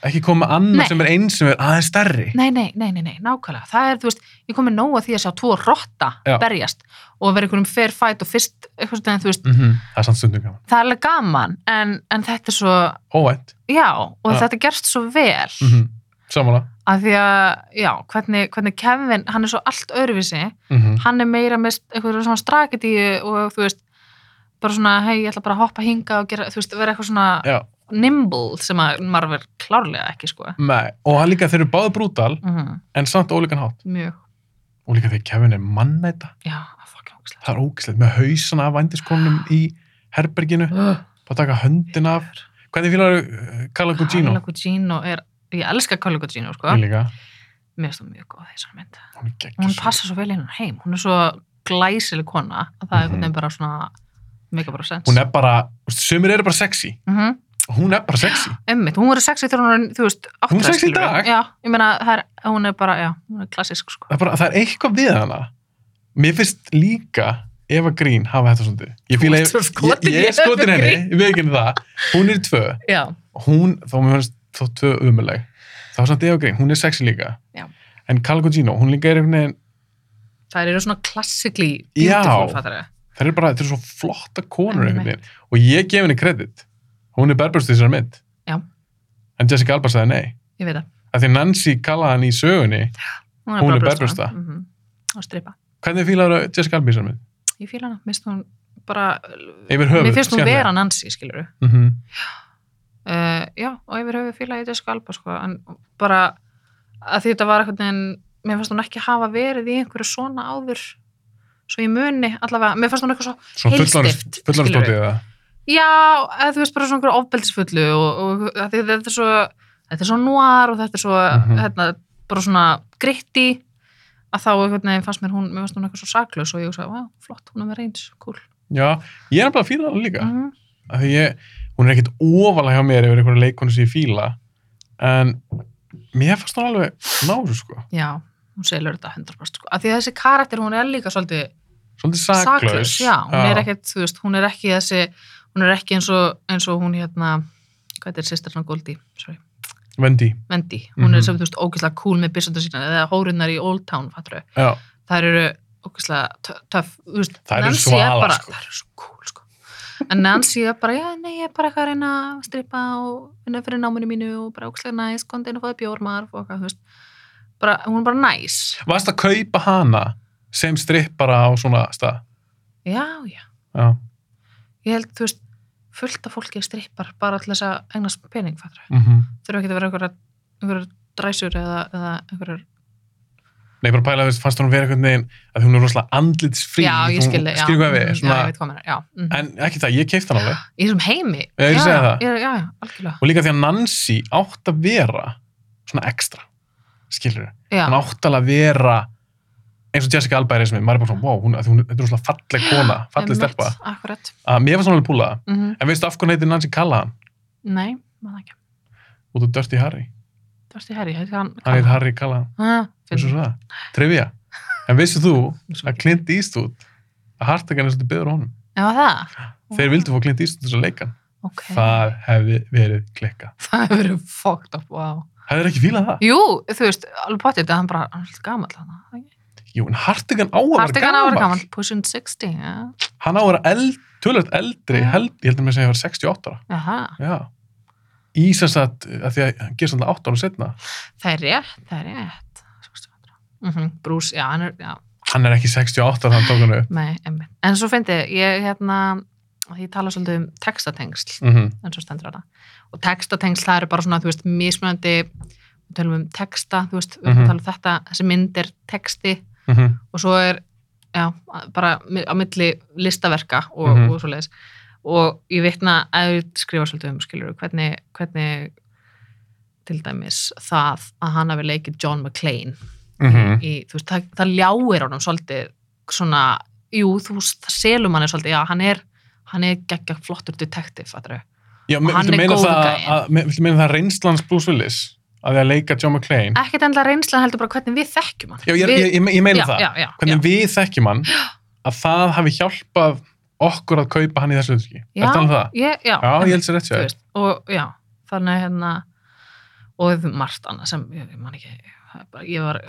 ekki koma annað Nei. sem er eins sem er aðeins stærri Nei, nei, nei, nei, nei, nákvæmlega. Það er, þú veist, ég komið nóg að því að sjá tvo rotta Já. berjast og vera einhverjum fair fight og fyrst, eitthvað svona, þú veist, mm það er samt stundum gaman, það er alveg gaman, en, en þetta er svo, óvænt já, og Já. þetta gerst svo vel. mm -hmm. samanlega að því að, já, hvernig, hvernig Kevin, hann er svo allt öðruvísi mm hann er meira með eitthvað svona straketíu og þú veist bara svona, hei, ég ætla bara að hoppa hinga og gera, þú veist, vera eitthvað svona Já. nimble sem að maður verður klárlega ekki, sko Nei, og hann líka þeir eru báðu brútal mm, en samt ólíkan hátt mjög, og líka þegar Kevin er mannæta já, það er fucking ógæslega það er ógislegt með hausan af vændiskonum í herberginu, bara taka höndin af hvernig fílar uh, Carla Gugino? Carla Gugino er, ég elska Carla Gugino, sko Ég líka, mér finnst það mjög góð þessar mynd hún er geggjur hún passa svo vel inn heim, hún er svo glæsileg kona að það er einhvern veginn bara svona mega bara sens Mhm. hún er bara, þú veist, sumir eru bara sexy Mhm. hún er bara sexy Emmitt, hún verður sexy þegar hún er, þú veist, áttræð. Hún er sexy í dag? Já, ég meina, það er, hún er bara, já, hún er klassisk, sko. það er, bara, það er eitthvað við hana mér finnst líka Eva Green hafa þetta svolítið ég, fíla, Þú ert ég, svo skotin ég, í ég er Eva skotin henni, Green. ég veit ekki um það hún er í tvö, Já. hún, þó mér finnst þó tvö umuleg, þá er samt Eva Green hún er sexy líka Já. en Carla Gugino, hún líka er einhvern veginn Það eru svona klassikli Já. beautiful, fattar þau. það er bara, þetta eru svo flotta konur einhvern Einmitt. veginn og ég gef henni kredit hún er berbrust í þessari mynd Já. en Jessica Alba sagði nei Ég veit það. af því Nancy kallaði hann í sögunni Hún bara er brjóstvaran. berbrjósta. Mhm. Og stripa. hvernig fílar þú Jessica Alba í þessari mynd? Ég fíla hana, mér finnst hún bara, yfir höfuð, mér finnst hún vera Nancy, skilur við. mm -hmm. Eh, já, og yfir höfuð fíla ég Jessica Alba, sko, en bara að því þetta var eitthvað en mér finnst hún ekki hafa verið í einhverju svona áður svo ég muni allavega, mér finnst hún eitthvað svo svona Heilsteypt, fullanastótið skilurðu. eða Já, eða þú veist bara svona einhverju ofbeldisfullu og, og að því að þetta er svo þetta er svo noir og þetta er svo Mhm. hérna, bara svona gritti að þá einhvern veginn fannst mér hún, mér fannst hún eitthvað svo saklaus og ég sagði, vá, flott, hún er með reyns, cool. Já, ég er bara að fíla hana líka mm. Mm því ég, hún er ekkit ofalega hjá mér yfir einhverja leikonu sem ég fíla en mér fannst hún alveg násu sko, Já, hún selur þetta 100% sko. Að því að þessi karakter, hún er líka svolítið svolítið saklaus. saklaus Já, hún er ekkert, þú veist, hún er ekki þessi, hún er ekki eins og, eins og hún hérna, hvað er sýstirna Goldie, sorry, Vendi, Vendi, hún er Mhm. sem þú veist ógeðslega cool með byssundu sína eða hórunar í Old Town, fattur já, þær eru okkurslega töff þú veist, Þær eru Nancy er svalar, bara, sko. þær eru svo cool sko. en Nancy er bara, já, nei, ég er bara eitthvað að reyna að strippa og vinna fyrir náminu mínu og bara okkurslega næs, kondi inn og fóði bjórmar og eitthvað, þú veist bara, hún er bara næs varst að kaupa hana sem strippara á svona stað já, já, já, ég held, þú veist fullt af fólki strippar bara til þess að eignast pening, fattur mm þurfa ekki að vera einhverjar, einhverjar dræsur eða, eða einhverjar nei, bara pæla, þú veist, fannst hún vera einhvern veginn að hún er rosalega andlitsfrí já, ég Þú- skilði, já, skilur hvað við, Mm, svona, já, ég veit hvað mér, já, mm. en ekki það, ég keipta hann alveg í þessum heimi Já, ég er að segja já, það. já, já, já, algjörlega og líka því að Nancy átt að vera svona ekstra, skilur já, hún átt alveg að vera eins og Jessica Alba er eins og mér, maður er bara svona, wow, hún, af því hún þetta er rosalega falleg kona, falleg einmitt, stelpa akkurat, að mér var svona alveg púlaða, mm en veistu af hvernig heitir Nancy Callahan nei, maður ekki út af Dirty Harry, það varst í herri, ég hann hann heitir Harry Callahan hann, eins og finnst svo það, trivia en veistu þú svo að Clint Eastwood að Hartagan er svolítið beður á honum já, það, þeir vildu fá Clint Eastwood þess að leika hann. ok það hefði verið klikka það hefur verið fucked up, wow hefur ekki fílað það? jú, þú veist, alveg potið það hann bara, hann er alltaf gamall hann Jú, en Hartagan á að vera Hartigan ára gammal gamall, pushing 60 já, hann á að vera eld, tölvöld eldri Já. held, ég held að mér segja að vera 68 ára Jaha. já í sem sagt, að því að hann gerst alltaf 8 ára setna það er rétt, það er rétt mm Bruce, já, hann er, já hann er ekki 68 þannig að hann tók hann upp Nei, einmitt. En svo fyndi ég, ég hérna, ég tala svolítið um textatengsl, mm eins og stendur þetta. Og textatengsl, það eru bara svona, þú veist, mismunandi, við tölum um texta, þú veist, við mm Mhm. tala um þetta, þessi mynd er texti -hmm. og svo er, já, bara mi- á milli listaverka og, Mhm. og svoleiðis. Og ég vitna að ég skrifa svolítið um, skilur, hvernig, hvernig til dæmis það að hann hafi leikið John McClane mhm. í, þú veist, það, það ljáir honum svolítið svona, jú, þú veist, það selum hann er svolítið, já, hann er hann er geggja flottur detektiv, fattur já, Og hann viltu er meina, góður það, gæinn. að, me- viltu meina það reynslans Bruce Willis að því að leika John McClane ekkert endla reynslan heldur bara hvernig við þekkjum hann já, ég, við, ég, ég, ég meina já, það já, já, hvernig við þekkjum hann að það hafi hjálpað okkur að kaupa hann í þessu hlutski Já. eftir alveg það? ég, já, Já, ég held sér rétt hjá þú þér. veist, og já, þannig að hérna og það er margt annað sem ég, ég man ekki, það er bara, ég var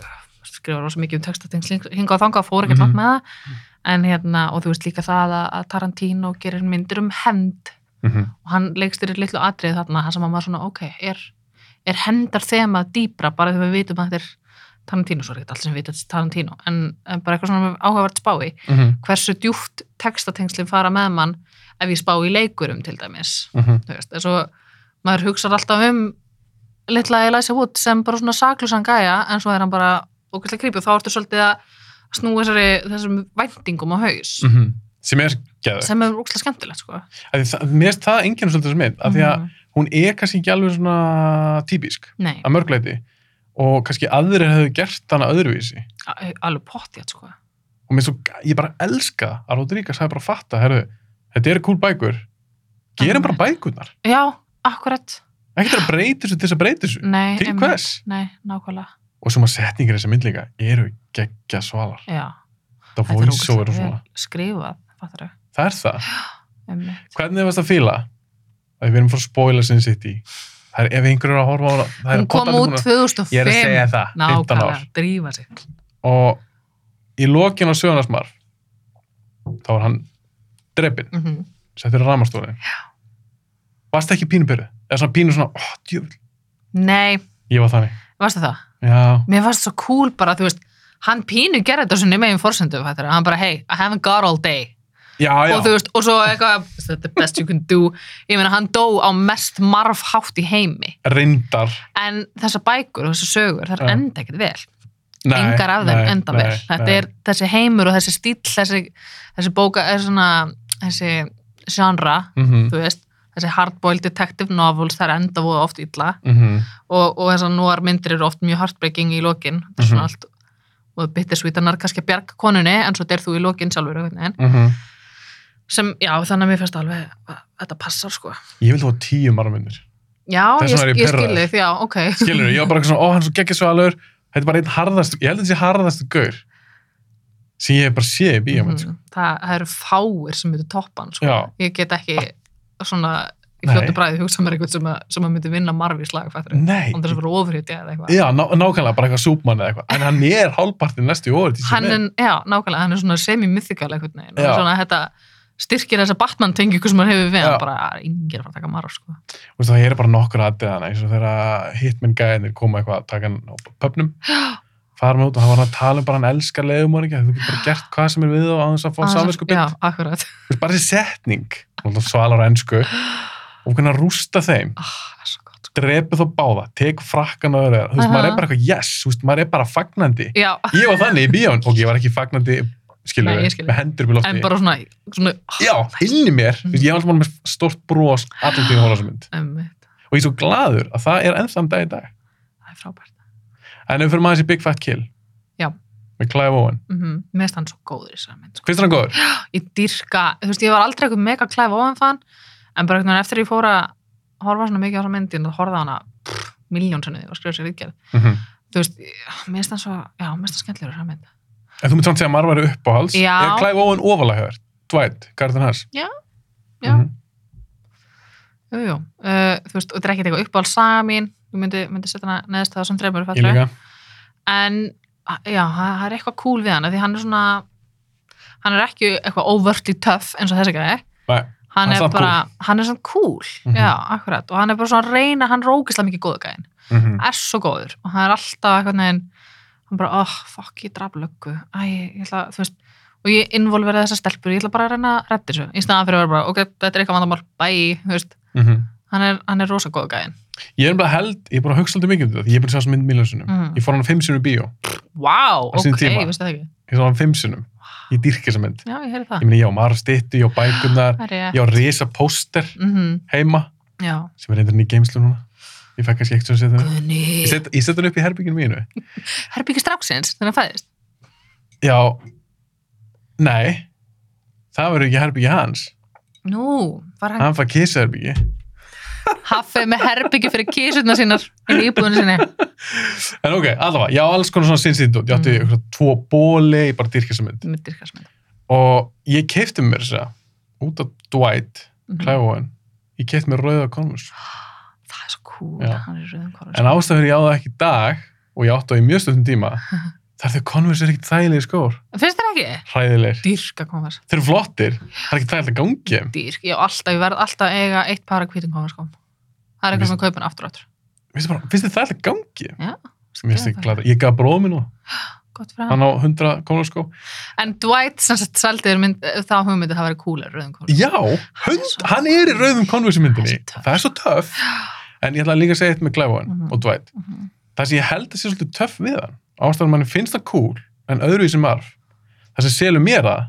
skrifa rosa mikið um textatengsl hinga og þangað fór ekkert Mhm. langt með það en hérna, og þú veist líka það að, að Tarantino gerir myndir um hend Mhm. og hann leikst þér í litlu atrið þarna þar sem að maður svona, ok, er, er hendar þemað dýpra bara þegar við vitum að þetta er Tarantino, svo er ekkert allt sem við vitum að þetta er Tarantino, en, en bara eitthvað svona áhugavert spái, Mhm. hversu djúft textatengslinn fara með mann ef ég spá í leikurum til dæmis Mhm. þú veist, en svo maður hugsar alltaf um litla Elisa Wood sem bara svona saklusan gæja, en svo er hann bara okkurlega krýpið, þá ertu svolítið að snúa þessari, þessum væntingum á haus, Mhm. sem er geður sem er ókslega skemmtilegt, sko. mér finnst það enginn svolítið sem mynd af því að Mhm. hún er kannski ekki alveg svona típisk Nei. að mörgleiti og kannski aðrir hefðu gert hana öðruvísi Al- alveg pottjætt sko og mér svo, ég bara elska að Rodríguez hafi bara fatta, herðu, þetta eru cool bækur gerum bara bækurnar já, akkurat, ekki til að breyta þessu til þess að breyta þessu nei til Mm, einmitt. hvers? nei, nákvæmlega, og svo maður setningir í þessa myndleika eru geggja svalar já það Þetta er voice over ógeðslega og svona vel skrifað, fattar þau það er það, einmitt. hvernig varst að fíla að við erum frá spoiler sin city það er ef einhverjur er að horfa á hana það er hún kom pottan út búin að- ég er að 2005 segja það, 15 nákvæmlega, ár drífa sig og í lokin á sögunarsmarf þá var hann drefin, mm -hmm. settur í ramastólin varst ekki pínubyrðu eða svona pínu svona, ó, djöfull nei, ég var þannig, varstu það? já, mér varst svo cool bara, þú veist hann pínu gerði þetta svona megin forsendu fattar þau, hann bara, hey, I haven't got all day já, já og þú veist, og svo eitthvað "Is that the best you can do, ég meina hann dó á mest marfhátt í heimi reyndar en þessar bækur og þessar sögur, þær Já. enda ekkert vel engar af þeim enda vel þetta er þessi heimur og þessi stíl þessi, þessi bóka er svona þessi genre mm þú veist, þessi hardboiled detective novels þær enda voða oft illa mhm, og, og þessar núar myndir eru oft mjög heartbreaking í lokin þetta er Mhm. svona allt og bittersweetanar kannski að bjarga konunni en svo deyr þú í lokin sjálfur einhvern veginn. mhm. sem, já, þannig að mér finnst alveg að þetta passar sko ég vil þú að tíu marmunir já, Þess ég, vegna er ég ég skil pirraður. þið, já, ok skilur, ég var bara eitthvað svona, ó, hann er svo geggjusvalur þetta er bara einn harðast, ég held að þetta sé harðast gaur sem ég hef bara séð í bíómynd sko. Mhm. það, það eru fáir sem myndu toppan sko. já, ég get ekki svona í Nei. fljótu bræði hugsa mér eitthvað sem að, sem að myndi vinna marfi í slag fættur nei og þess að vera ofurhjóti eða eitthvað já, ná, nákvæmlega, bara eitthvað súpmann eða eitthvað en hann er hálpartin næstu í orðið hann er, já, nákvæmlega, hann er svona semi-mythical einhvern veginn, Já. og svona þetta styrkir þessa Batman-tengingu sem hann hefur við Já. hann bara, yngir að fara að taka marf sko. Þú veist, það eru bara nokkur aðdeðana eins og þegar hitmenn gæðinir koma eitthvað að taka hann á pöpnum fara með út og hann var að tala um bara hann elskar leiðumorðingja, þú getur bara gert hvað sem er við og á þess að fá samvisku Ah, Já, bind. akkurat. Þú veist, bara þessi setning, og það svalar á ennsku, og hvernig að rústa þeim, Ah, það er svo gott. sko. drepu þá báða, tek frakkan og öðru, þú veist, Aha. maður er bara eitthvað, yes, þú veist, maður er bara fagnandi. Já, Ég var þannig í bíón, ok, ég var ekki fagnandi, skilur Nei, ég við, skil. með hendur upp í en lofti. bara svona, svona, Já, inn í mér, þú Mm. veist, ég var alltaf með stort brós allan tíma hóla sem ah, mynd. emmitt, Og ég er svo glaður að það er ennþann dag í dag. það er frábært. En ef við fyrir maður þessi Big Fat Kill, Já. með Clive Owen, Mm -hmm. Mér finnst hann svo góður í þessari mynd. Sko. finnst þér hann góður? Ég dyrka, þú veist, ég var aldrei eitthvað mega klæf ofanfann, en bara einhvern veginn eftir ég fór að horfa svona mikið á þessa mynd, ég horfði á hana miljón sinnið og skrifa sér viðgerð. Mhm. Þú veist, ég- mér finnst hann svo, já, mér finnst hann skemmtilegur í þessari mynd. En þú mynd samt segja að maður væri uppáhalds. Já. Er Clive Owen ofalega hefur? Dwight, Mhm. Garðan Hass? Já, já. Jú, jú, uh, þú veist, og þetta er ekkert eitthvað uppáhald saga mín, ég myndi, myndi setja hana neðst á þessum þreymur Ég líka. en a- já, það það er eitthvað cool við hann af því hann er svona hann er ekki eitthvað overtly tough eins og þessi gæði Nei, hann er er samt bara, hann er svona cool Mhm. já, akkurat, og hann er bara svona að reyna hann rókislega mikið góðu gæðin, mhm. er svo góður og hann er alltaf eitthvað neginn hann bara, oh, fuck, ég draf löggu æ, ég ætla, þú veist, og ég involverið þessar stelpur, ég ætla bara að reyna að redda þessu í staðan fyrir að vera bara, ok, þetta er eitthvað vandamál bæ, þú veist, mhm. hann er, hann er rosa góðu gæðin Ég er bara held, ég er bara að hugsa alltaf mikið um þetta. Ég er bara að sjá þessu mynd miljónsunum. Mhm. Ég fór hann fimm sinum í bíó. Vá, Á sínum ok, tíma. ég vissi það ekki Ég fór hann fimm sinum. Ég dýrk þessa mynd. Já, ég heyri Ég það, meni, ég á margstittu, ég á bækunar, það er ég ég á risa póster mm heima, Já, sem er einhvern í geimslu núna. Ég fekk kannski ekkert sem að setja það. Ég Guðni set- Ég setja hann upp í herbygginu mínu. Herbyggi stráksins, þannig að fæðist Já, nei, það verður ekki herbyggi hans. Nú, var hann Hann fær kissa herbyggi. haffi með herbyggi fyrir kísurna sínar inn í íbúðinu sinni En ok, allavega, ég á alls konar svona sinnsýndótt. Ég átti Mm. mm. tvo bóli, ég bara dýrk þessa mynd. Myndir hvað sem Og ég keipti mér þess að út af Dwight, þetta Clive Owen, ég keipti mér rauða Converse. Mhm. Það er svo cool, Já. hann er í rauðum korfum En ástæður ég á það ekki í dag, og ég átti það í mjög stöðum tíma, þar þegar Converse er ekkit þægilegir skór. Finnst þér ekki? Hræðilegir. Dýrk að koma þess Þeir eru flottir, það er ekki þægilegt að gangi. þeim. Dýrk, ég, á alltaf, ég verð alltaf að eiga eitt par að hvítum koma sko Það er eitthvað sem kaupin aftur og aftur Finnst þér bara- finnst þér þægilegt að gangi? þeim? Já, Mér finnst þið glæð. Ég gaf bróðum minn og Gott fyrir hann hann á sko. 100 Converse skó. En Dwight, sem sagt, seldiður mynd þá hugmyndið það væri cooler rauðum korfum Já, hund, hann er í rauðum Converse myndinni. Það er svo töff. En ég ætla líka að segja eitt með Clive Owen Mhm. og Dwight. það sem ég held að sé svolítið töff við hann ástæðan manni finnst það cool en öðruvísi marf það sem selur mér það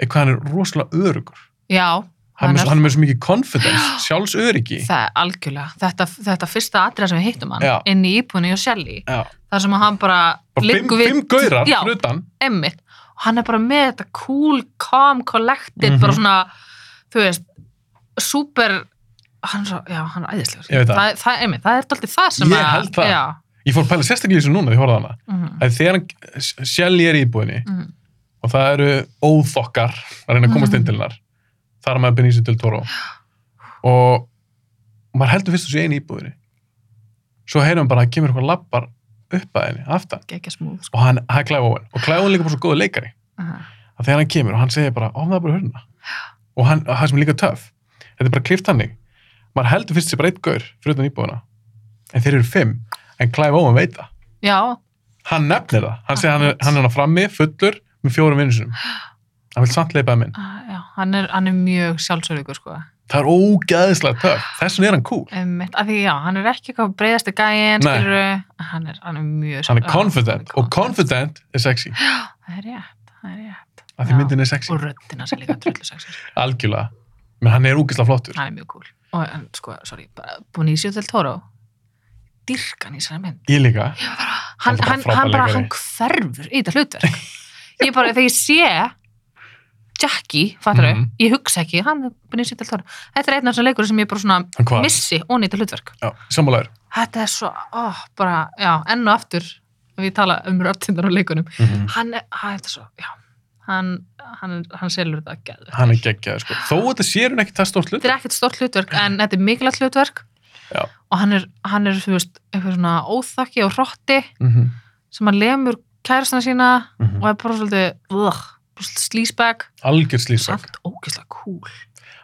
er hvað hann er rosalega örugur Já, hann, Hann hann, er- er, hann er með svo mikið confidence, sjálfsöryggi Það er algjörlega, þetta, þetta fyrsta atriða sem við hittum hann Já. inn í íbúinu og Shelley Já. þar sem hann bara, bara fimm, liggur fimm gaurar Já, fyrir utan emmitt og hann er bara með þetta cool, calm, collected Mhm. bara svona, þú veist super hann er, svo, já, hann er æðislegur Ég veit það. það, það, einmitt, það er alltaf það sem Ég að held það. Já, ég fór að pæla sérstaklega í þessu núna því ég horfði á hana mm að þegar hann sjálf er í íbúinni Mhm. og það eru óþokkar að reyna að komast inn til hennar þar er maður Benicio del Toro og maður heldur fyrst þessu einu íbúinni svo heyrum bara að kemur eitthvað lappar upp að henni aftan geggja smúð sko. og hann, hann er Clive Owen og Clive Owen er líka bara svo góða leikari Aha. að þegar hann kemur og hann segir bara ofnaði bara hörna og hann, og hann sem er líka töff þetta er bara klift hannig maður heldur fyrst sér bara eitt gaur fyrir utan íbúðuna en þeir eru fimm en Clive Owen veit það Já, hann nefnir það hann segir hann er, hann er hann frammi fullur með fjórum vinnusunum hann vil samt leipa það minn að- já hann, er, hann er mjög sjálfsörugur sko. það er ógeðislega töff þess vegna er hann cool einmitt, af því já, hann er ekki eitthvað breiðasti Nei. gæin skilurðu, hann er, hann er mjög hann er já, confident og confident er sexy það er rétt, það er rétt af Já. því myndin er sexy og röddina sem líka trullu sexi algjörlega menn hann er ógeðislega flottur hann er mjög cool og en, sko, sorry, bara Bonicio del Toro dyrkan í sér mynd ég líka Hann hann, er bara hann, frábær hann bara, leikari. hann hverfur í þetta hlutverk ég bara, þegar ég sé Jackie, fattar þau, Mhm. ég hugsa ekki hann er Benicio del Toro, þetta er einn af þessum leikur sem ég bara svona hann hvað missi og nýta hlutverk sammálaður þetta er svo, ó, bara, já, enn og aftur ef ég tala um röttindar á leikunum mm hann, er- hann, þetta er svo, já hann, hann, hann selur þetta að geðu hann er geggjaður sko. þó þetta sér hún ekki það stórt hlut þetta er ekkert stórt hlutverk en þetta er mikilvægt hlutverk Já. og hann er, hann er þú veist, eitthvað svona óþakki og hrotti mm -hmm. sem hann lemur kærastana sína mhm. og er bara svolítið ugh, bara svolítið slísbæk algjör slísak samt ógeðslega cool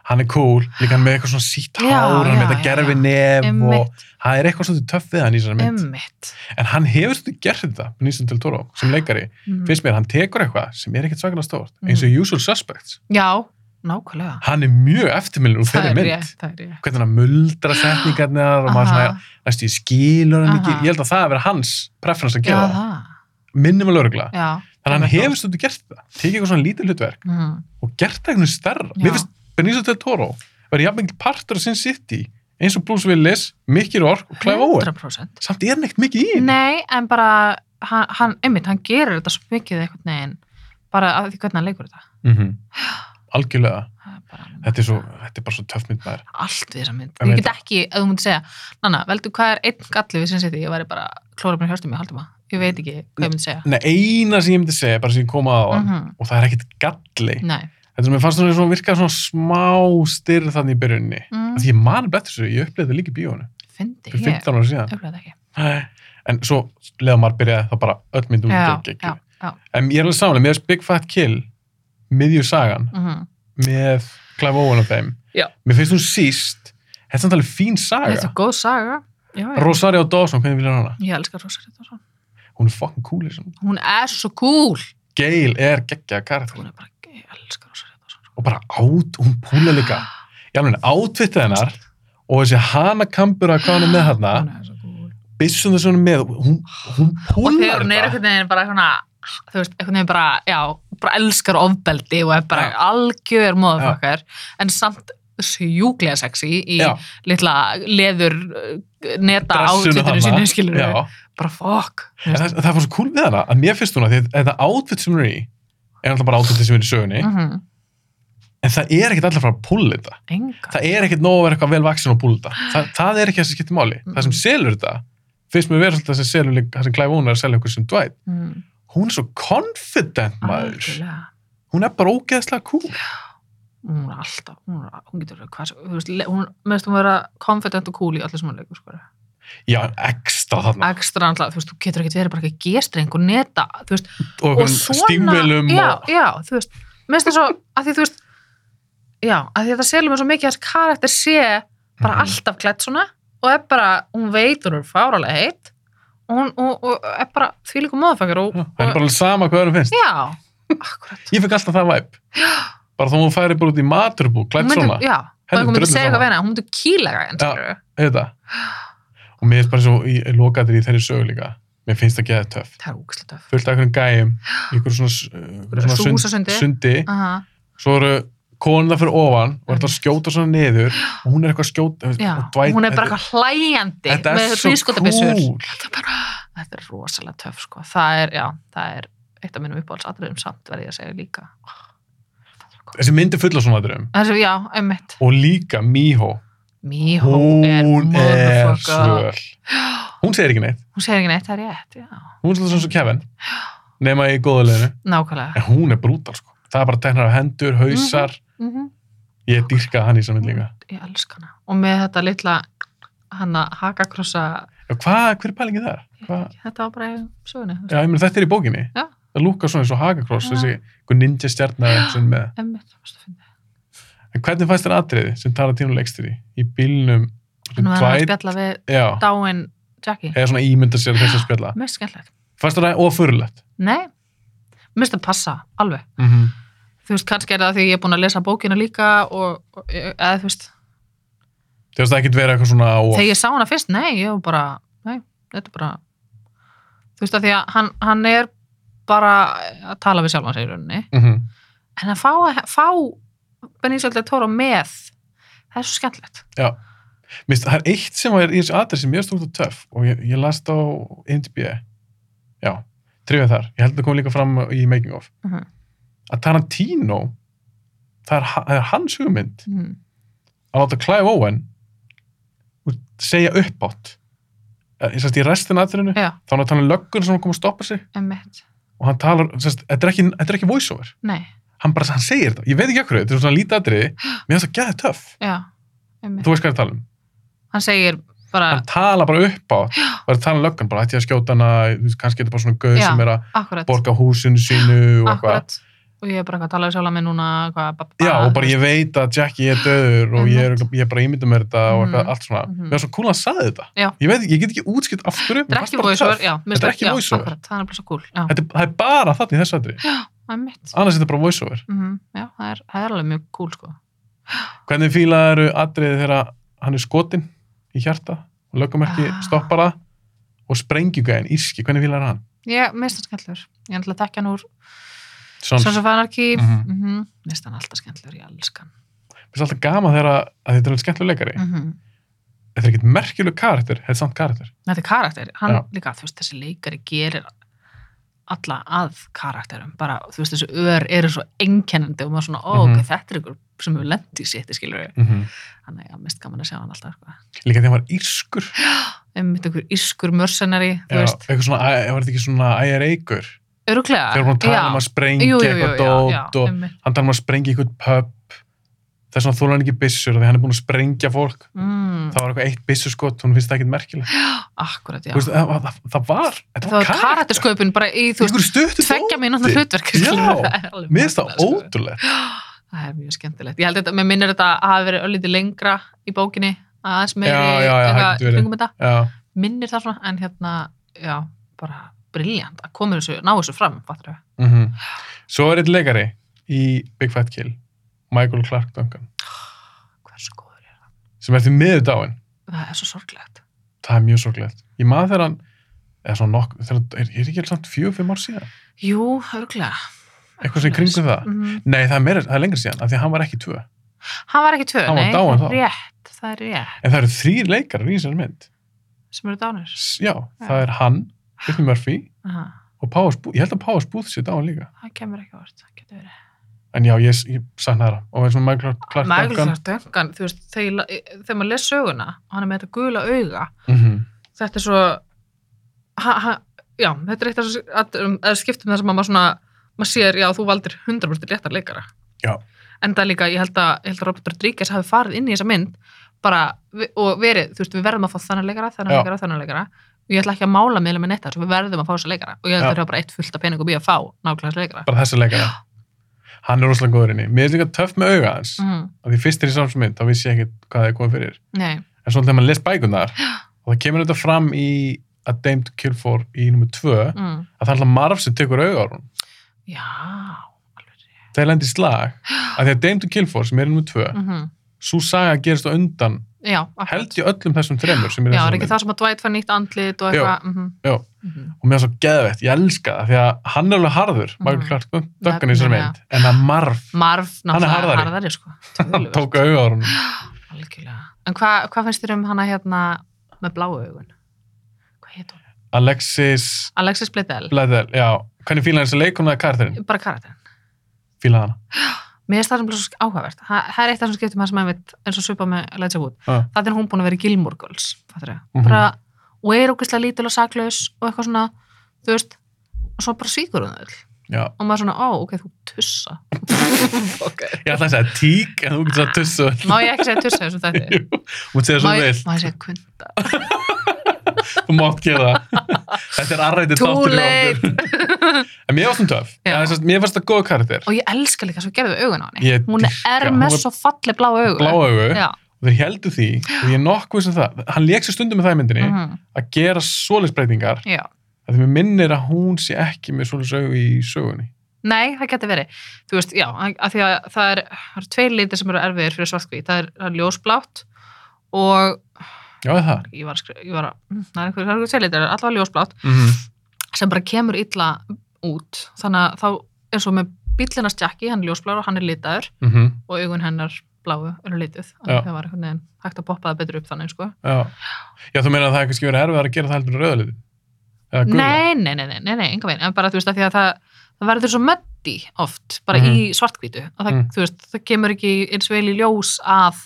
hann er cool, líka hann með eitthvað svona sítt Já, hár, hann já, með þetta já, gerfi nef og Einmitt, það er eitthvað svolítið töff við hann í þessari mynd einmitt. en hann hefur svolítið gerð þetta Benicio del Toro sem leikari Mm. finnst mér, hann tekur eitthvað sem er ekkert svakalega stórt eins og Usual Suspects Já, nákvæmlega. hann er mjög eftirmillin úr þeirri er mynd rétt, það er rétt. hvernig hann muldra setningarnar og maður svona, Aha, næstu í skilur hann ekki Aha. ég held að það að vera hans preference að Já, gera það, það. minnum að lögregla Já. þannig að hann einmitt. hefur stundum gert það, tekið eitthvað svona lítið hlutverk Mm. og gert það eitthvað stærra Já. mér finnst Benicio del Toro verið jafn mikil partur af Sin City eins og Bruce Willis, Mickey Rourke og Clive Owen 100%. samt er hann ekkert mikið í henni. Nei, en bara, hann, hann, einmitt, hann gerir þetta svo mikið einhvern veginn, bara af því hvernig hann leikur þetta. Mhm. algjörlega, Það er bara, þetta er, svo, þetta er bara svo töff mynd maður allt við þessa mynd. Ég Ég veit get ekki, ef þú mútti segja, Nanna, veldu hvað er einn galli við sem seti, ég væri bara klóra mér hjörstum í haldum að. Ég veit ekki hvað ég myndi segja. Nei, eina sem ég myndi segja, bara sem ég koma á mm Mhm. og það er ekkert galli Nei. þetta sem ég fannst svona, svona virkað svona smá styrð þannig í byrjunni Mm. að því ég mani blettur þessu, ég upplýði þetta líka í bíónu Fyndi fyrir ég. 15 ára síðan Öflaði þetta ekki. Nei. en svo leða maður byrjaði þá bara öll myndum Já, gegn- já, gegn- já. en ég er alveg samanlega, mér finnst Big Fat Kill miðju sagan Mhm. með Clive Owen og þeim Já. mér finnst hún síst, þetta er samt alveg fín saga Þetta er góð saga. Já, já. Rosario Dawson, hvernig vilja hana? Ég elskar Rosario Dawson. Hún er fucking cool í þessum. Hún er svo cool. Gail er geggja karakter Hún er bara, ég elskar Rosario Dawson. og bara át, hún púla líka ég alveg átvittið hennar og þessi hana kampur að hvað hann er með hérna Hún er svo cool. byssum þessu hann er með hún, hún Og þegar púlar hún er þetta einhvern veginn bara svona, þú veist, einhvern veginn bara, já, bara elskar ofbeldi og er bara Já. algjör móðafokkar, en samt sjúklega sexy í Já, litla leður uh, neta dressinu átvittinu hana. sínu skilur Já. við, bara fokk En það, það var svo cool við hana að mér finnst hún að því að þetta átvitt sem hún er í er alltaf bara átvitt sem er í sögunni mm -hmm. en það er ekkert alltaf að fara að púla þetta enga, það er ekkert nóg að vera eitthvað vel vaksin og búlda það, það er ekki það sem skiptir máli það sem Mm. selur þetta finnst mér verið það sem selur líka- það sem Clive Owen er að selja okkur sem Dwight mm, hún er svo confident maður algjörlega. hún er bara ógeðslega cool hún er alltaf, hún, er, hún getur verið hvað sem- þú veist, le- hún, meðst hún vera confident og cool í allir sem hún leikur sko. já, ekstra þarna ekstra alltaf, þú veist, þú getur ekkert verið bara ekki gestreng og neta, þú veist og og einhvern stímvelum já, og... já, þú veist, mér finnst það svo að því þú veist, já, að því þetta selur mér svo mikið að þessi karakter sé bara Mhm. alltaf klætt svona og er bara, hún veit hún er fáralega heitt og hún og, og, er bara því líka móðfakar og, Já, og það er bara alveg sama hvað það finnst já, akkurat ég fekk alltaf það væp bara þá hún færi bara út í maturbú klætt svona, já, og Henni hún myndi drullu segja sama. eitthvað vegna, hún myndi kýlega en Já. skilur þetta og mér finnst bara svo í lokaðir í þeirri sögu líka mér finnst það geða töff það er úkslega töf fullt af einhverjum gæjum í einhverju svona, uh, svona sund- Húsasundi. sundi Aha, svo eru konuna fyrir ofan og er það að skjóta svona niður og hún er eitthvað að skjóta Mm. já, og Dwight- hún er bara eitthvað hlæjandi þetta með er svo hrískotabissur. cool þetta er bara, þetta er rosalega töf sko. það er, já, það er eitt af minnum uppáhaldsatriðum samt verði ég að segja líka þessi myndi fulla svona dröm Þessu, já, einmitt og líka Miho Míhó er hún er motherfucker svöl hún segir ekki neitt, hún segir ekki neitt, það er rétt, já hún er svolítið svona svo Kevin nema í góðuleginu, nákvæmlega en hún er brútal sko það er bara teknar af hendur, hausar mm ég dýrka hann í saman líka ég elska hana og með þetta litla hana hakakrossa Já, hvað, hver er pælingi þar? Hva? þetta var bara í sögunni þú veist, Já, ég meni þetta er í bókinni Já. það lúkar svona eins og Hagakross Já. þessi einhver ninja stjarnar sem er með einmitt, það varst að finna En hvernig fannst þér atriði sem Tarantino leikst þér í? Í bílnum en hún var hann að Dwight- spjalla við já, dáin Jackie, eða svona ímynda sér þess að spjalla mest skemmtilegt Fannst þér það ofurlegt? nei, mest að passa, alveg Mm -hmm. þú veist, kannski er það því ég er búin að lesa bókina líka og, og eða þú veist, Þegar það ekkert verið eitthvað svona of... þegar ég sá hana fyrst, nei, ég var bara, nei, þetta er bara, þú veist að því að hann, hann er bara að tala við sjálfan sig í rauninni, mm en að fá, fá Benicio del Toro með, það er svo skemmtilegt. Mist, það er eitt sem er í þessu atrið sem ég stóð út töff og ég, ég las þetta á IMDb já, trefið þar ég held að það kom líka fram í Making of Mhm. að Tarantino það er, ha- það er hans hugmynd Mm. að láta Clive Owen úr- segja uppátt Eh, sem sagt, í restin atriðinu Já, þá er hann að tala um löggur sem kom að stoppa sig emmitt, og hann talar, sem sagt, þetta er ekki, þetta er ekki voiceover nei, hann bara, hann segir þetta, ég veit ekki akkur þetta er svona lítið atriði, mér finnst það gæði töff já, emmitt. þú veist hvað ég er að tala um Hann segir bara, hann tala bara upp á og er að tala um löggan, bara ætti ég að skjóta hana þú veist, kannski er þetta bara svona gauð Já. sem er að akkurat, borga húsinu sínu og eitthvað akkurat, Ah, og ég er bara eitthvað að tala við sjálf með núna hvað, ba, ba, Já, og bara ég veit að Jackie er döður og ég er ég bara ímyndum mér þetta og eitthvað Mhm. allt svona. Mhm. Mér var svo cool að hann sagði þetta. Já. Ég veit, ekki- ég get ekki útskipt af hverju. mér þetta er fannst ekki bara voiceover, töff. já, Þetta mér er finnst- ekki já, voiceover. akkurat, það er nefnilega svo cool já, Þetta er- Það er bara þannig í þessu aðri. það er mitt Annars er þetta bara voiceover. Mhm, já, það er, það er alveg mjög cool sko Hvernig fílað eru atriðið þegar hann er skotin í hjarta og lögum ekki Ah. stoppar það og sprengjugæðin, íski, hvernig fílað er hann? ég mist hann skemmtlur, ég ætla að tekja hann úr Svona, Sons of Anarchy Mhm. mm -hmm. mist hann alltaf skemmtlur, ég elskan finnst alltaf gama þegar að að þetta er alveg skemmtileg leikari. mm Þetta er ekkert merkjuleg karakter, þetta er samt karakter. þetta er karakter, hann Já. líka þú veist, þessi leikari gerir alla að karakterum, bara þú veist þessi ör eru svo einkennandi og maður svona, ó, ok, Mhm. þetta er ykkur sem við lendi í sétti, skilur við, Mm hann er mest gaman að sjá hann alltaf, sko. Líka þegar hann var írskur. einmitt ykkur ískur mörsenari, þú Já, veist, eitthvað svona, æ- var þetta ekki svona æjareikur? öruglega Þegar hún tala um að sprengja eitthvað dót og einmitt. hann tala um að sprengja eitthvað pub. Það er svona þólar hann ekki byssur af því hann er búin að sprengja fólk. mm, Það var eitthvað eitt byssuskot, hún finnst það ekkert merkileg. akkurat, já Þú veist, Það, það, það var, þetta það var var karakter. karaktersköpun bara í, þú veist, Ykkur stuttu tveggja mínútna hlutverk Já, skilur, það er alveg Mér finnst það magnað, sko. ótrúlega. það er mjög skemmtilegt ég held þetta, mér minnir þetta að hafa verið öllítið lengra í bókinni, aðeins meiri Já, já, já, það eitthvað, getur verið. kringum þetta Já, minnir það svona, en hérna já, bara briljant að koma þessu, ná þessu fram fattar við, mm Svo er eitt leikari í Big Fat Kill, Michael Clark Duncan, hversu góður er það sem er því miður dáin. það er svo sorglegt, Það er mjög sorglegt. Ég maður þegar hann, eða svona nokk, þegar hann, er, er ekki samt fjögur, fimm ár síðan? jú, örglega Eitthvað sem í kringum það? mm, Nei, það er, meira, það er lengra síðan, af því að hann var ekki tvö. hann var ekki tvö, Hann var nei, dáinn þá. rétt það er rétt, En það eru þrýr leikarar í þessari mynd. sem eru dánir S- Já, það er hann, Brittany Murphy Aha, og Páas Búð, ég held að Páas Búð sé dáin líka. það kemur ekki vart, það getur verið En já, ég, ég sakna þeirra. Og eins og Michael Clark- Clark Michael Duncan. Clark Duncan, þú veist, þegar, þegar maður les söguna og hann er með þetta gula auga Mhm. þetta er svo ha, ha, já, þetta er eitt af þessu atriðum- eða skiptum þar sem að maður svona maður sér, já, þú valdir 100% réttar leikara Já. en það er líka, ég held að, ég held að Robert Rodriguez hafi farið inn í þessa mynd bara, vi- og verið, þú veist, við verðum að fá þannig leikara þannig Já. leikara, þannig leikara og ég ætla ekki að mála meðlega með netta, við verðum að fá þessa leikara og ég held Já. að það er bara eitt fullt af peningum í að fá nákvæmlega þessa leikara Bara þessi leikara. Hann er rosalega góður inni. Mér er líka töff með auga hans. mm, af því fyrst er í samsmynd, þá vissi ég ekkert hvað það er komið fyrir. nei, En svona þegar maður les bækunar, og það kemur þetta fram í A Dame to Kill For í nummer 2, að mm, það er alltaf Marv sem tekur auga á hún. já alveg rétt. Þeir lendir í slag, af því að Dame to Kill For sem er í nummer 2, Mhm. svo saga gerist á undan, já, akkurat. held ég öllum þessum þremur sem er í já, er þessum ekki mynd. það sem að Dwight fær nýtt andlit og Jú, eitthvað mhm, jú. mhm. Og mér er svo geðveitt, ég elska það, því að hann er alveg harður, Michael Mhm. Clark Duncan í þessari Nefnilega. mynd, en að Marv, Marv, Hann er náttúrulega harðari, harðari. harðari sko. hann Töluvert. tók auga á hún. Algjörlega. En hvað hva finnst þér um hana hérna með bláu augun? Hvað heit hún? Alexis Alexis Bledel, Bledel, já, hvernig fíla hann þessi leikona eða karakterinn? bara karakterinn. Fíla hana. Mér finnst það sem svo áhugavert. Það það er eitt af þessum skiptum það sem einmitt eins og svipa með Elijah Wood. Ah. Það er hún búin að vera í Gilmore Girls, fattur ég. Mhm. Bara, og er ógeðslega lítil og saklaus og eitthvað svona, þú veist, og svo bara svíkur hún öll. Já, Og maður svona, ó, ok, þú tussa. ok. Ég ætla að segja tík, en þú getur að tussu öll. Má ég ekki segja tussa þessum þetta? Jú, Þú mútt segja svo Má ég, vel, má ég segja kund? þú mátt gera það. Þetta er arrætið Too þáttur late. En mér var svona töf. Já. Mér fannst það góð karakter. og ég elska líka svo gerðu augun á henni Ég hún er dýrka, hún með er svo falli blá augu Blá augu. já, Og þeir heldu því, og ég er nokkuð sem það. Hann leik sér stundum með það í myndinni mhm, að gera svoleiðsbreytingar. já. Þegar mér minnir að hún sé ekki með svoleiðs augu í sögunni. nei, það getur verið þú veist, já, af því að það er, það er tvei litir sem eru erfiðir fyrir svartkví það er, það er ljósblátt og Já, er það. ég var að skrifa, ég var að mm, það er einhver, það er einhver tvei litir, allavega ljósblátt Mhm. sem bara kemur illa út þannig að þá eins og með bíllinnast jakki, hann er ljósblár og hann er litaður Mhm. og augun hennar bláu eru lituð Já. Þannig það var einhvern veginn hægt að poppa það betur upp þannig sko. Já. Já, þú meina að það er kannski verið erfiðar að gera það heldur en rauðalitin? Eða gula? Nei, nei, nei, nei, nei, nei, enga veginn, en bara þú veist að því að það, það verður svo mötti oft, bara í svartkvítu og það, Mhm. þú veist, það kemur ekki eins vel í ljós að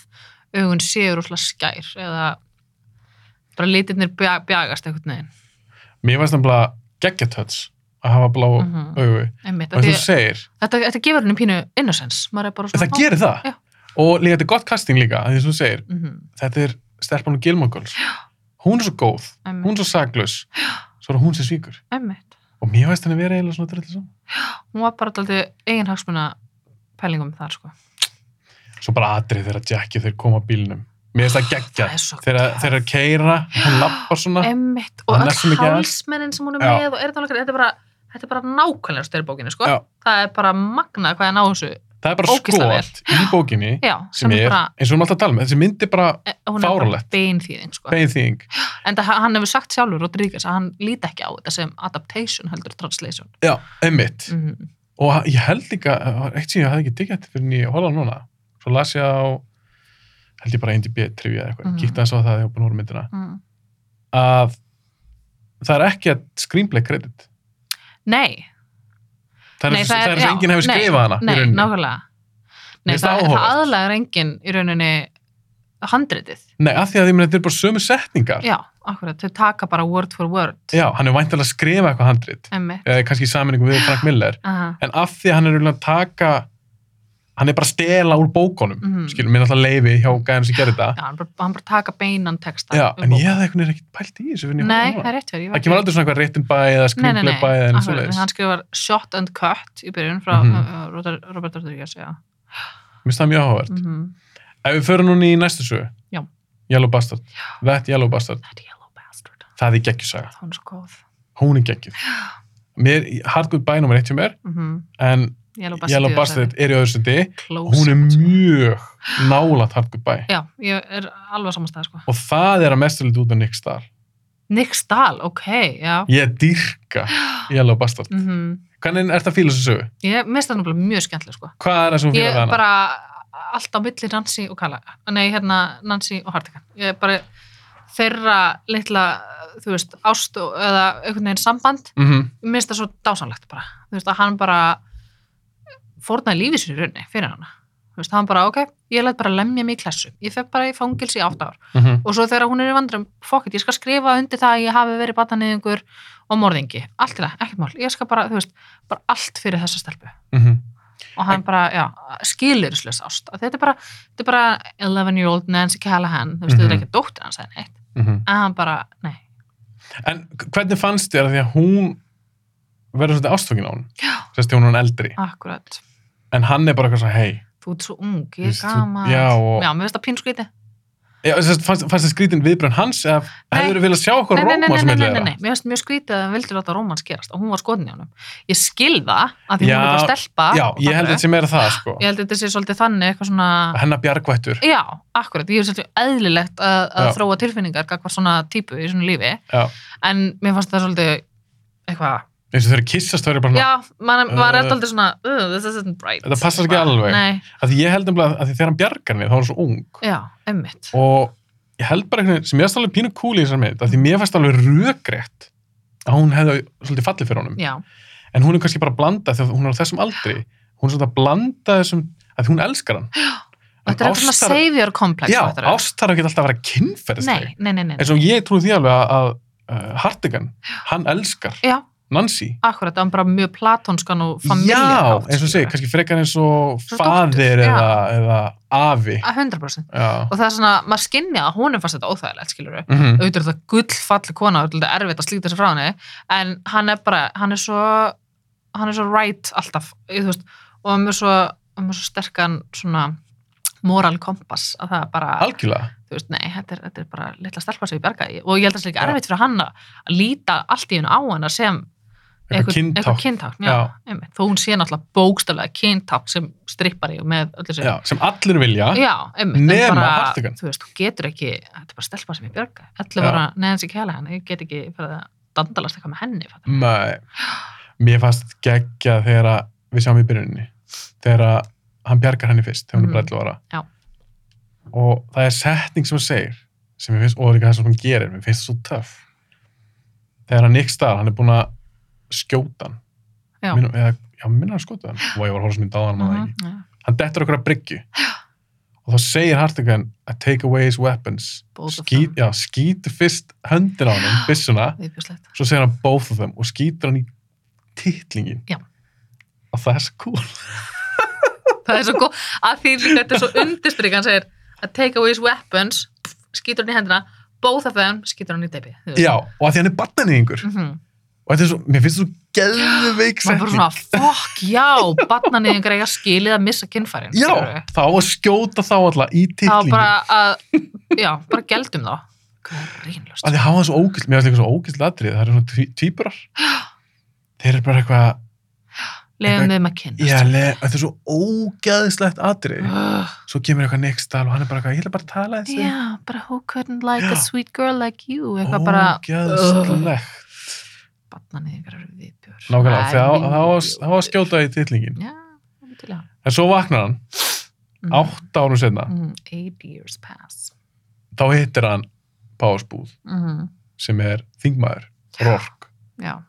augun séu rúslega skær eða bara litirnir bja- bjagast einhvern veginn, Mér fannst það bara geggjatöts að hafa blá Mhm. augu. einmitt, Og af eins því og þú að segir, þetta, þetta gefur henni pínu innocence, maður er bara En svona það gerir það. Já. Og líka þetta er gott casting líka, því sem þú segir, mm þetta er stelpan og Gilmore Girls. Hún er svo góð, Einmitt. hún er svo saklaus, svo er hún sem svíkur. einmitt, Og mér veist henni vera eiginlega svona dröldið saman. hún var bara alltaf eigin hagsmuna pælingum þar sko svo bara atrið þegar Jackie þeir koma á bílnum mér finnst það geggja það er svo þegar töff. þeir eru að keira, hann lappar svona Emmitt og Hann er svo öll mikið að- hálsmennin sem hún er Já. með og er þetta þetta er bara, þetta er bara nákvæmlega styrbókinu sko, Já. það er bara magna hvað ég ná þessu, það er bara ógeðslega skot í bókinni já, sem er, bara eins og við erum alltaf að tala um þessi mynd er bara eh, hún er bara fáránlegt. beinþýðing sko. beinþýðing en það, hann hefur sagt sjálfur Rodríguez að hann líti ekki á þetta sem adaptation heldur translation já, einmitt mm. og ha- ég held líka, það var eitt sem ég hafði ekki tekið þetta fyrir en ég horfði á núna svo las ég á, held ég bara endi bíð trivja eitthvað, Mhm. mm. kíkta eins á það þegar ég var búin úr myndina Mm. að það er ekki að screenplay credit nei, það er Nei, eins og- það er- það er eins og já, enginn hefur nei, skrifað hana í nei, rauninni. nákvæmlega nei, Mér finnst það, það það áhugavert. aðlagar enginn í rauninni handritið, nei, af því að ég meina þetta er bara sömu setningar já, akkurat þau taka bara word for word já, hann er væntalega að skrifa eitthvað handrit emmitt, eða kannski í saminningu við Frank Miller aha, en af því að hann er rauninni að taka hann er bara að stela úr bókunum Mhm. skilur, minn alltaf leifi hjá gæðan sem gerir þetta já, hann bara, hann bara taka beinan texta já, úr en ég hefði bók. eitthvað ekki pælt í þessu finn ég Nei, horfði á það hana. er rétt fyrir. það kemur aldrei svona eitthvað written by eða screenplay by eða eins og akkurat, leiðis Hann skrifar shot and cut í byrjun frá mm Mhm. -hmm. Robert Rodriguez, já. mér finnst það mjög áhugavert Mm -hmm. ef við förum núna í næstu sögu Já. Yellow Bastard That Yellow Bastard That yellow bastard. það er geggjusaga Það var nú svo góð. hún er geggjuð mér Hardwood Bæ nummer 1 hjá mér Mm en Yellow bastard. Yellow í Bastard öðru sæti. er í öðru seti Close hún er second, sko. mjög nálat Hardwood Bæ Já, ég er alveg samanstæð, sko. og það er að mestu lítið út af Nick Stahl Nick Stahl, ok, já. ég dyrka Yellow Bastard Mm hvernig er þetta fíla þessu sögu? Ég minnst það náttúrulega mjög skemmtileg, sko. hvað er það sem þú Ég fílar við hana? bara allt á milli Nancy og Kala. Nei, hérna Nancy og Hardigan. Ég er bara þeirra litla, þú veist, ást og, eða einhvern veginn samband Mm mér finnst það svo dásanlegt bara þú veist að hann bara fórnaði lífið sér í rauninni fyrir hana þú veist hann bara ok, ég læt bara lemja mig í klassu ég fekk bara í fangils í átt ár -hmm. og svo þegar hún er í vandrum, fokkit, ég skal skrifa undir það að ég hafi verið bataniðingur og morðingi allt í það, ekkert mál, ég skal bara þú veist, bara allt fyrir þessa stelpu Mm -hmm. og hann bara, já, skilur slösa ást Að þetta er bara, þetta er bara 11 year old Nancy Callahan, þú veist, þetta er Mhm. ekki dóttir hans eða neitt, en hann bara, nei en hvernig fannst þér að því að hún verður svolítið ástfangin á hún þess að hún er hann eldri akkurat, en hann er bara eitthvað svona hei þú ert svo ung, Þú ég er veist, þú- gaman já, og- mér finnst það pínskvíti Já, sem sagt, fannst, fannst það skrítin viðbrönd hans eða hefur þið viljað sjá okkur Nei, nei, nei, róma nei, sem nei, eitthvað nei, þeirra nei, mér finnst mjög skrítið að hann vildi láta rómans gerast og hún var skotin í honum. Ég skil það að því Já, hún er bara stelpa. Já, ég held að þetta akkurat. sem er það sko Ég held að þetta sé svolítið þannig eitthvað svona... hennar bjargvættur Já, akkurat, ég er svolítið eðlilegt að, að Já. þróa tilfinningar gagvar svona típu í svona lífi, Já. en mér fannst það svolítið eitthvað... eins og þeir eru kissast það er bara Já, maður var Uh, rétt aldrei svona, uh, this isn't right. Þetta passar ekki alveg. Nei, að ég held um að því þegar hann bjargar henni þá er hann svo ung já, ummitt. og ég held bara einhvern veginn sem ég fannst alveg pínu kúli í þessar mynd að því mér fannst alveg rökrétt að hún hefði svolítið fallið fyrir honum Já, en hún er kannski bara að blanda þegar hún er á þessum aldri hún er svolítið að blanda þessum að því hún elskar hann En þetta er eitthvað svona ástar- savior komplex. Já, fattar þú? ást þarf ekki alltaf að vera kynferðisleg Nei, nei, nei, nei. eins og ég trúi því alveg að, að uh, Hartigan, hann elskar Já, Nancy. akkurat, það var bara mjög platónskan og já, familjarhátt. eins og segir, kannski frekar eins og Svo dóttur, faðir já. eða, eða afi. að 100% Já. og það er svona, maður skynja að honum fannst þetta óþægilegt skilur við, Mm auðvitað er þetta gullfalli kona og þetta er erfitt að slíta þessu frá henni en hann er bara, hann er svo hann er svo right alltaf ég, þú veist, og hann er svo, hann er svo sterkan svona moral kompass að það er bara, Algjörlega. þú veist, nei, þetta er, þetta er bara litla stelpa sem ég berga í og ég held að það sé ekki Já. erfitt fyrir hann að að líta allt í hennu á hana sem Eitthvað kyntátt. kyntákn, já, Já. einmitt, þó hún sé náttúrulega bókstaflega kyntákn sem strippar í og með öllu þessu Já, sem allir vilja. Já, einmitt, en Nema bara, Hartigan. Þú veist, þú getur ekki, þetta er bara stelpa sem ég björga. Ætla bara Nancy Callahan, ég get ekki fyrir að dandalast eitthvað með henni. fattar þú? Nei. Mér fannst geggja þegar að- við sjáum í byrjuninni. Þegar að hann bjargar henni fyrst, þegar hún er Mhm. bara 11 ára. Já. Og það er setning sem hún segir, sem ég finnst, og það er ekki það sem hún gerir, mér finnst það svo töff. Þegar hann Nick Starr, hann er búin að skjóta hann. Já. Minna, eða, já, minna hann skjóta hann. Og ég var að horfa sem ég dáða hann maður ekki. Mhm, já. Hann dettur okkur að bryggju. Og þá segir Hartigan að take away his weapons. Both of Skít, já, skýtu fyrst höndin á hann, byssuna Viðbjóðslegt. svo segir hann both of them og skýtur hann í titlingin Já. og það er svo cool Það er svo góð, að því líka þetta er svo undirstrykk, hann segir að take away his weapons, pff, skýtur hann í hendina, both of them, skýtur hann í debið. já, og að því hann er barnanýðingur Mm -hmm. og þetta er svo, mér finnst þú geðveik maður bara setning svona, fokk, já barnanýðingar eiga skilið að missa kynfærin skilurðu. já, þá að skjóta þá alltaf í þá titlingu bara að, já, bara geldum þá grínlust að þið hafa það svo ógild, mér finnst líka svo ógild atrið, það eru svona tví- tvíburar þeir eru bara eitthvað leiðum þeim að kynnast já, le, þetta er svo ógeðslegt atrið Ugh, svo kemur eitthvað nextal og hann er bara eitthvað, ég ætla bara að tala þessi já, bara who couldn't like Já. a sweet girl like you eitthvað bara ógeðslegt barnanýðingar eru viðbjör nákvæmlega, þegar það var- það var að skjóta í titlingin já, viðbjör en svo vaknar hann, átt árum senna Mm, Mhm. eight years pass þá hittir hann Pársbúð mm, sem er þingmaður, Rork já,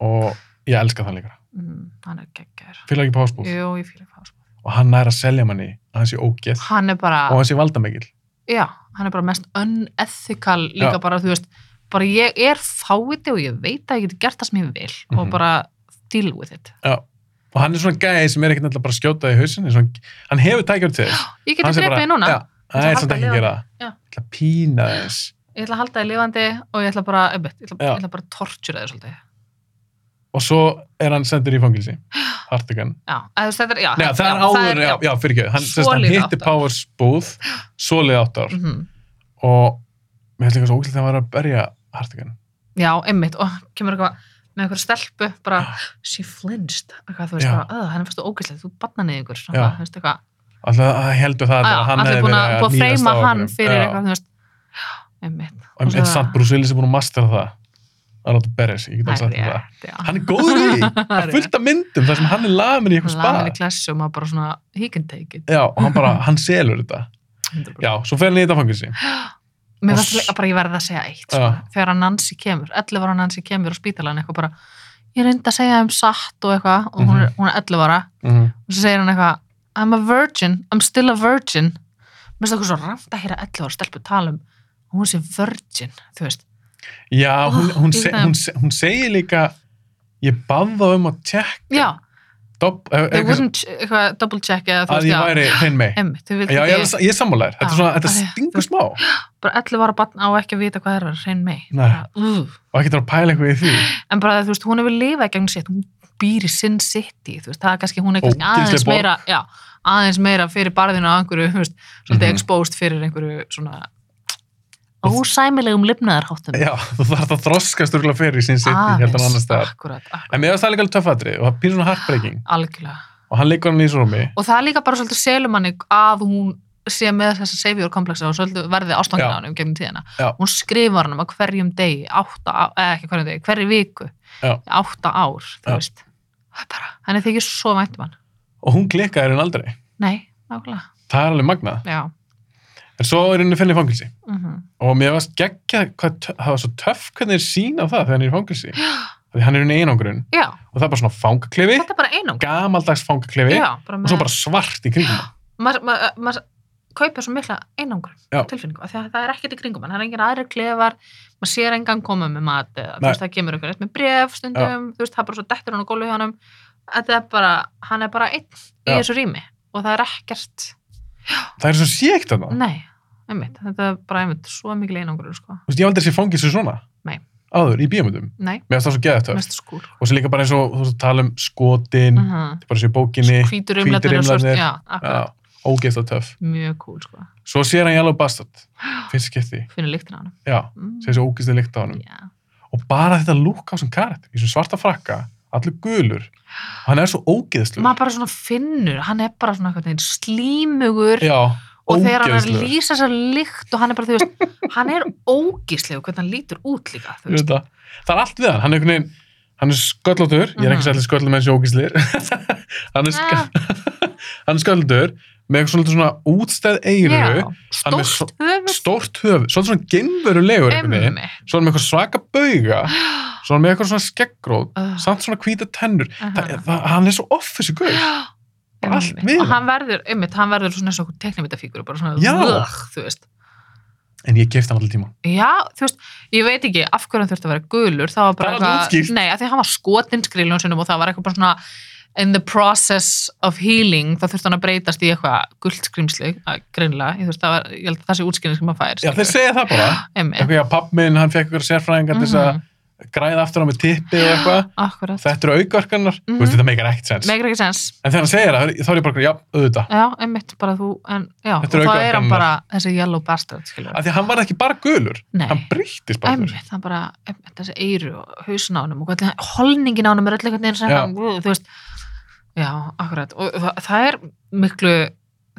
og ég elska það líka mm, hann er geggjær fylgir ekki Pársbúð jú, ég fíla það sko. og hann nær að selja manni að hann sé ógeð hann er bara og hann sé valdamikil já, hann er bara mest unethical líka Já. bara, þú veist, bara ég er fáiði og ég veit að ég get gert það sem ég vil og Mhm. bara deal with it Já. og hann er svona gæði sem er ekkert náttúrulega bara að skjóta í hausin hann, hann hefur tækjum til þess ég Hann geti sé bara- grepið þig núna já, ætla að það er halda svona ekki liðan. að gera það. Já. ég ætla að pína þess ég ætla að halda þig lifandi og ég ætla bara, einmitt, ég ætla, Já. ég ætla bara að tortura þig svolítið og svo er hann sendur í fangilsi Hartigan já, að, þú veist, þetta er, já, Nei, hann- það er Ah, já, áður, já, já fyrir ekki hann, Svo sérst, hann liðið hitti átta ár. Powers búð solið áttar mm. Mhm. og mér finnst líka svo ógælt að hann var að berja Hartigan já, einmitt, og kemur eitthvað með einhverja stelpu, bara Já. she flinched, eitthvað, þú veist, Já. bara, "Ugh, henni fannst þú ógæslega, þú batna niður ykkur, svona, Já. þú veist, eitthvað alltaf heldur það Á, allir já, að hann allir hefði búin verið Ah, að, að búin að níðast freyma á hann einhverjum. fyrir Já. eitthvað, Ah. þú veist einmitt og Og um, svo- eitt samt Bruce Willis er búin að mastera það að láta berja sig, ég get Það alveg sagt er þér um það rétt, já. hann er góður í, því. það er fullt af myndum þar sem hann er lamin í eitthvað spa Lamin í klassu og maður bara svona he can take it já, og hann bara, hann selur þetta já, svo fer hann í þetta fangilsi Mér Og fannst s- líka bara ég verði að segja eitt Já. sko. þegar að Nancy kemur, 11 ára Nancy kemur á spítalan eitthvað bara ég reyndi að segja þeim satt og eitthvað og hún er, hún er 11 ára Mhm. og svo segir hann eitthvað I'm a virgin, I'm still a virgin Mér finnst eitthvað svo rámt að hýra 11 ára stelpu tala um að hún sé virgin, þú veist já, hún, Ó, hún, ég se, veit hún, se, hún segir líka ég bað þá um að tjekk Já, dopp, eh, they eitthvað, wouldn't ch- eitthvað, double check eða þú að veist, ég já, væri hinn mei emmi, þau vildi já, ég, ekki- er- ég er sammálaður, þetta, er Já, svona, þetta að ég- stingur smá og bara 11 ára barn á ekki að vita hvað er að reyn mei Nei. Bara, úff. ekki þarf að pæla eitthvað í því en bara þú veist, hún hefur lifað í gegnum sitt, hún býr í sinn sitt þú veist, það er kannski, hún er kannski Ógeðsleg aðeins borg. meira já, aðeins meira fyrir barðinu á einhverju, þú veist, svolítið Mhm. exposed fyrir einhverju svona ósæmilegum lifnaðarháttum já, þú þarf að þroskast úrlega fyrir í sín sitt ég held hann annars staðar akkurat, akkurat, en mér finnst það líka alveg töffatri og það pýr svona heartbreaking algjörlega og hann leikur hann í svo rúmi og það er líka bara svolítið selumanni að hún sé með þessa savior komplexa og svolítið verði ástangin Já. á hann um gegnum tíðina Já. hún skrifar hann um að hverjum degi átta, á- eða ekki hverjum degi, hverju viku Já. í átta ár, þú Já. veist það er bara, henni þykir svo vænt um hann og hún klikkaði hann aldrei nei, nákvæmlega, það er alveg magnað já en svo er henni fennið fangilsi mm og mér varst geggja hvað tö- það var svo töff hvernig þeir sína á það þegar hann er í fangilsi því hann er í einangrun já, og það er bara svona fangaklefi þetta er bara einung gamaldags fangaklefi já, bara og með, svo bara svart í kringum hann. maður ma, ma, kaupir svo mikla einangur Já. tilfinningu, af því að það er ekkert í kringum hann, það er engin aðri klefar, maður sér engan koma með mat, eða, þú Nei. veist, það kemur ykkur með bref stundum, þú veist, það er bara svo dettur hann á gólu hjá hann, þetta er bara hann er bara einn í Já. þessu rými og það er ekkert, það er svo síkt þarna Þú nei einmitt, þetta er bara einmitt svo mikil einangur sko. veist, ég hef aldrei sé fangilsi svona Nei. áður í bíomundum nei, mér varst það svo geðið töff mest skúr og svo líka bara eins og þú veist að tala um skotin uh mm. bara sér bókinni hvítur umlætnir og svort, rimlarnir. já, akkurat ja, ógeðslega töff mjög cool sko, svo sér hann Yellow Bastard fyrst skipti finnir lyktina á hann já mm. sér þessi ógeðslega lykt á hann já, og bara þetta lúk á sem karakter í svona svarta frakka allur gulur og hann er svo ógeðslu maður bara svona finnur hann er bara svona einhvern veginn slímugur já, og þegar hann er að ógeðslegur. lýsa sér líkt og hann er bara, þú veist, hann er ógíslegu hvernig hann lítur út líka þú Þú veist veist. það. það er allt við hann, hann er einhvern veginn hann er sköllóttur, ég er ekki Mhm. Ah. sætli sköllum eins og ógíslir hann er, sk hann er sköllóttur með eitthvað svolítið svona útstæð já, eiru hann er stórt höfuð um stórt höf, svolítið svona genverulegur einhvern veginn, emmi svo er hann með eitthvað svaka bauga svo er hann með eitthvað svona skeggrót Ugh. samt svona hvíta tennur það, Aha. það, hann er svo off þessi guð bara allt ah, Einmitt. við og hann. hann verður, einmitt, hann verður svona eins og teknimítafíkur bara svona, Já. ugh, þú veist en ég kefti hann allir tíma já, þú veist, ég veit ekki af hverju hann þurfti að vera gulur, það var bara Það er alveg útskýrt. nei, af því að hann var skotin skrilun sinum og það var eitthvað bara svona in the process of healing þá þurfti hann að breytast í eitthvað gult skrimsli að- greinilega, ég, þú veist, það var, ég held að það sé útskýrning sem hann fær já, þeir segja það bara Einmitt. eitthvað, já, papp minn, hann fekk eitthvað sérfræðingar til þess að Mhm. græða aftur á með tippi og eitthvað akkurat. þetta eru aukaverkanar, mm Mhm. veist, þetta meikar ekkert sens Megar ekki sens. en þegar hann segir það, þá er ég bara, já, auðvitað Já, einmitt bara þú, en já, og Þetta eru þá er hann aukaverkanirnar. bara þessi yellow bastard, skilur. af því að hann var ekki bara gulur Nei. hann breyttist bara gulur Einmitt, það bara, einmitt, þessi eyru og hausin á honum og hvernig, hann- holningin á honum er öll einhvern veginn sem Já. hann, þú veist, já, akkurat, og það, það er miklu,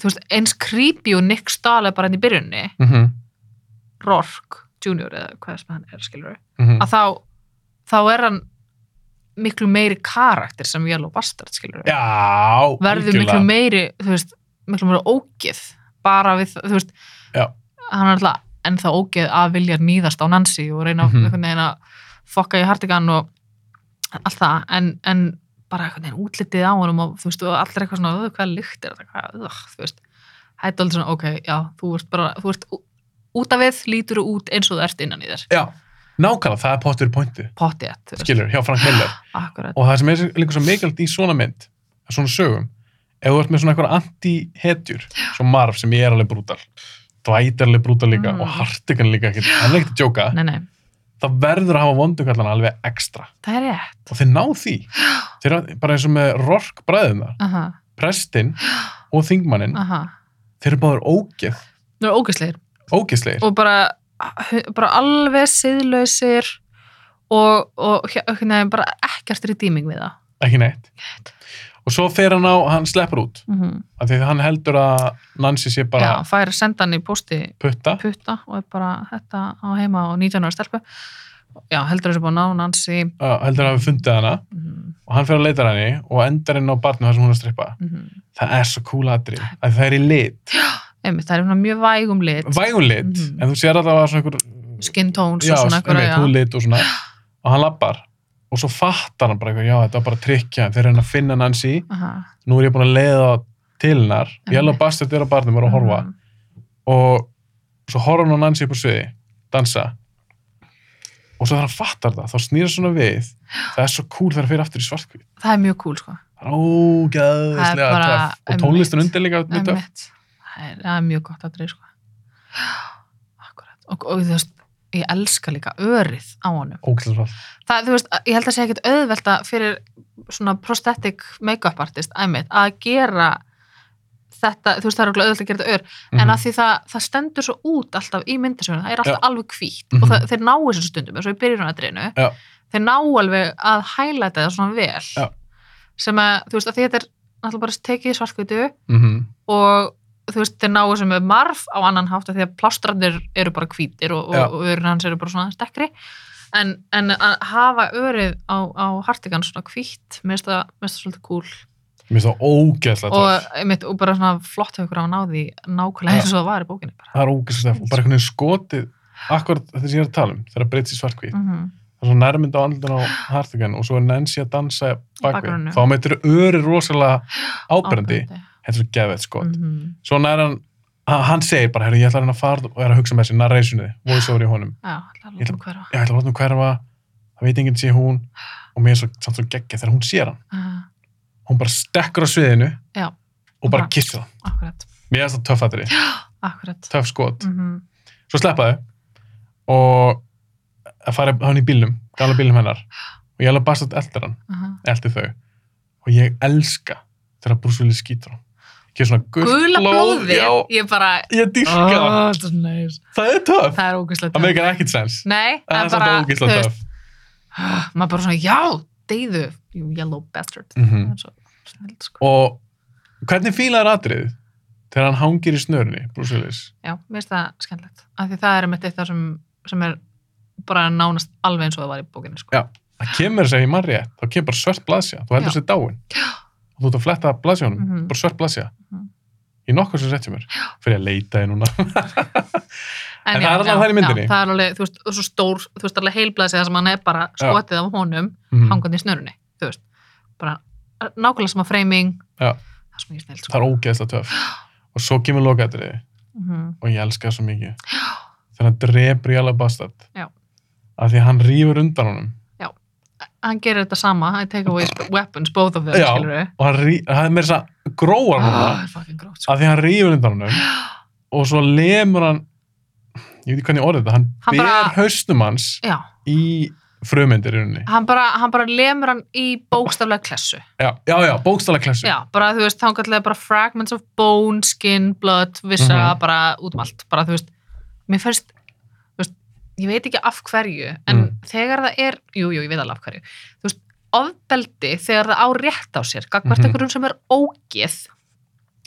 þú veist, eins creepy og Nick Stahl er bara enn í byrjunni, mm -hmm. Rourke Junior eða hvað sem hann er, skilur, Mm -hmm. að þá, þá er hann miklu meiri karakter sem Yellow Bastard, skilur, já, verður miklu meiri, þú veist, miklu meiri ógið, bara við, þú veist, Já. hann er alltaf ennþá ógeð að vilja nýðast á Nancy og reyna Mhm. einhvern veginn að fokka í Hartigan og allt það, en, en bara einhvern veginn útlitið á honum og þú veist, og allir eitthvað svona, "Ugh, hvaða lykt er þetta, hvað, ugh, þú veist, það er aldrei svona, ok, já, þú ert bara, þú ert ú- út af við, lítur þú út eins og þú ert innan í þér, já, nákvæmlega, það er pottur í pointi pottið, þú veist, skilur, hjá Frank Miller Ah. akkurat, og það sem er líka svo mikilvægt í svona mynd svona sögum, ef þú ert með svona einhver anti-hetjur, svo Marv sem ég er alveg brútal, Dwight er alveg brútal líka Mm. og Hartigan líka, ekkert, hann er ekkert að djóka nei, nei, það verður að hafa vondukallana alveg ekstra það er rétt, og þeir ná því þeir eru bara eins og með Rork bræðina aha, prestinn og þingmannin aha, þeir eru báður ógeð, það er ógeðslegir, ógeðslegir og bara, bara alveg siðlausir og, og hérna, bara ekkert redeeming við það ekki neitt og svo fer hann á, hann sleppur út mm af því að hann heldur að Nancy sé bara Já, fær að senda hann í posti putta putta og er bara þetta á heima á 19 ára stelpu já, heldur þessu búin á Nancy uh, heldur að hafa fundið hana mm og hann fer að leita að henni og endar inn á barnu þar sem hún er að strippa -hmm. það er svo cool atrið, að það er í lit einmitt, það er svona mjög vægum lit vægun lit, Mhm. en þú sér að það var svona einhver skin tones já, og svona einhver, einhverja, einhver, lit og svona og hann lappar og svo fattar hann bara eitthvað, já þetta var bara trikkja þeir reyna að finna Nancy, Aha, nú er ég búin að leiða þá til hennar, Einmitt. ég held að Bastard er að barnum er að horfa mhm. og svo horfa hann á Nancy upp á sviði dansa og svo þegar hann fattar það, þá snýra svona við það er svo cool þegar hann fyrir aftur í svartkvít það er mjög cool sko það er ógæðislega Það er bara töff. og tónlistin einmitt. undir líka mjög töff. Einmitt. það er, það er mjög gott að dreif sko. akkurat og, og þú veist, ég elska líka örið á honum ógæðislega flott. það, þú veist, ég held að segja ekkit auðvelda fyrir svona prosthetic make-up artist æmið, að gera þetta, þú veist, það er örugglega auðvelt að gera þetta ör Mhm. en að því það, það stendur svo út alltaf í myndasögunum, það er alltaf alveg hvít Mhm. og það, þeir ná þessu stundum, eins og ég byrjur hann að dreinu Já. þeir ná alveg að hælæta það svona vel Já. sem að, þú veist, að því þetta er náttúrulega bara tekið í svartkvítu mm -hmm. og þú veist, þeir náu sem er marf á annan hátt af því að plástrarnir eru bara hvítir og, Já. og, og örun hans eru bara svona stekkri en, en að hafa örið á, á hartigan svona hvít mér finnst það mér finnst það svolítið cool mér finnst það ógæðislega og, töff. einmitt, og bara svona flott hjá ykkur á náði nákvæmlega Já. eins og það var í bókinni bara. það er ógæðislega töff. og bara einhvern veginn skotið akkurat þetta sem ég er að tala um, þegar breytist í svartkvít Mm það er svona nærmynd á andlun á Hartigan og svo er Nancy að dansa bakvið bakgrunni. þá meitir öri rosalega Mhm, ábrendi þetta er svo geðveitt skot svo nær hann, hann- hann segir bara herri, ég ætla að reyna að fara og er að hugsa með þessi narrationi voice over í honum, Já, Ég hlala um hverfa ég ætla að láta hann hverfa það veit enginn sé hún og mér er svo, samt svo geggja þegar hún sér hann Ah, hún bara stekkur á sviðinu Já. og bara Bara- kissir hann Akkurat, mér er það töffatri, akkurat töff skot mm svo sleppa þau og að fara hann í bílnum, gala bílnum hennar og ég ætla að basta eldir hann eldi þau og ég elska þegar brúsvili skýtur hann ekki svona gult Gula blóð, blóði, já, ég bara ég dýrka það Ah, það er nice. það er töff, Það er ógæslega það meikar ekkert sens Nei, það er samt ógislega töff Ah, maður bara svona, já, deyðu you yellow bastard Mhm. mm. svo, snild, sko. og hvernig fílaður atriðið þegar hann hangir í snörunni brúsvilis já, mér finnst það skemmtilegt af því það er einmitt eitt það sem, sem er bara nánast alveg eins og það var í bókinni sko. Já. það kemur þess að ég mann rétt, þá kemur bara svört blaðsja þú heldur Já. sér dáin og þú ert að fletta blaðsjónum, Mhm. bara svört blaðsja Mhm. í nokkuð sem rétt hjá mér fyrir að leita í núna En það já, er alveg já, það í myndinni. já, það er alveg, þú veist, og svo stór, þú veist, alveg heilblaðið sig það sem hann er bara Já. skotið af honum Mhm. hangandi í snörunni, þú veist bara eh, nákvæmlega sama framing Já. það er svo mikið snild það sko. er ógeðslega töff og svo kemur lokatriðið Mhm. og ég elska það svo mikið þegar hann drepur Jalla Bastard Já. af því að hann rýfur undan honum hann gerir þetta sama, I take away weapons both of them, Já. skilur við og hann rí- það er meira þess að gróar hann það ah. er fucking grótt sko. af því að hann rýfur undan honum og svo lemur hann ég veit ekki hvernig ég orðið þetta, hann, Hann ber bara- hausnum hans já, í frumyndir í rauninni. hann bara, hann bara lemur hann í bókstaflega klessu Já, já, já, bókstala klessu. já, bara þú veist, þangarlega bara fragments of bone, skin, blood vissa Mhm. bara út um allt bara þú veist, mér fyrst þú veist, ég veit ekki af hverju en Mm. þegar það er, jú, jú, ég veit alveg af hverju þú veist, ofbeldi þegar það á rétt á sér, gagvart Mhm. einhverjum sem er ógið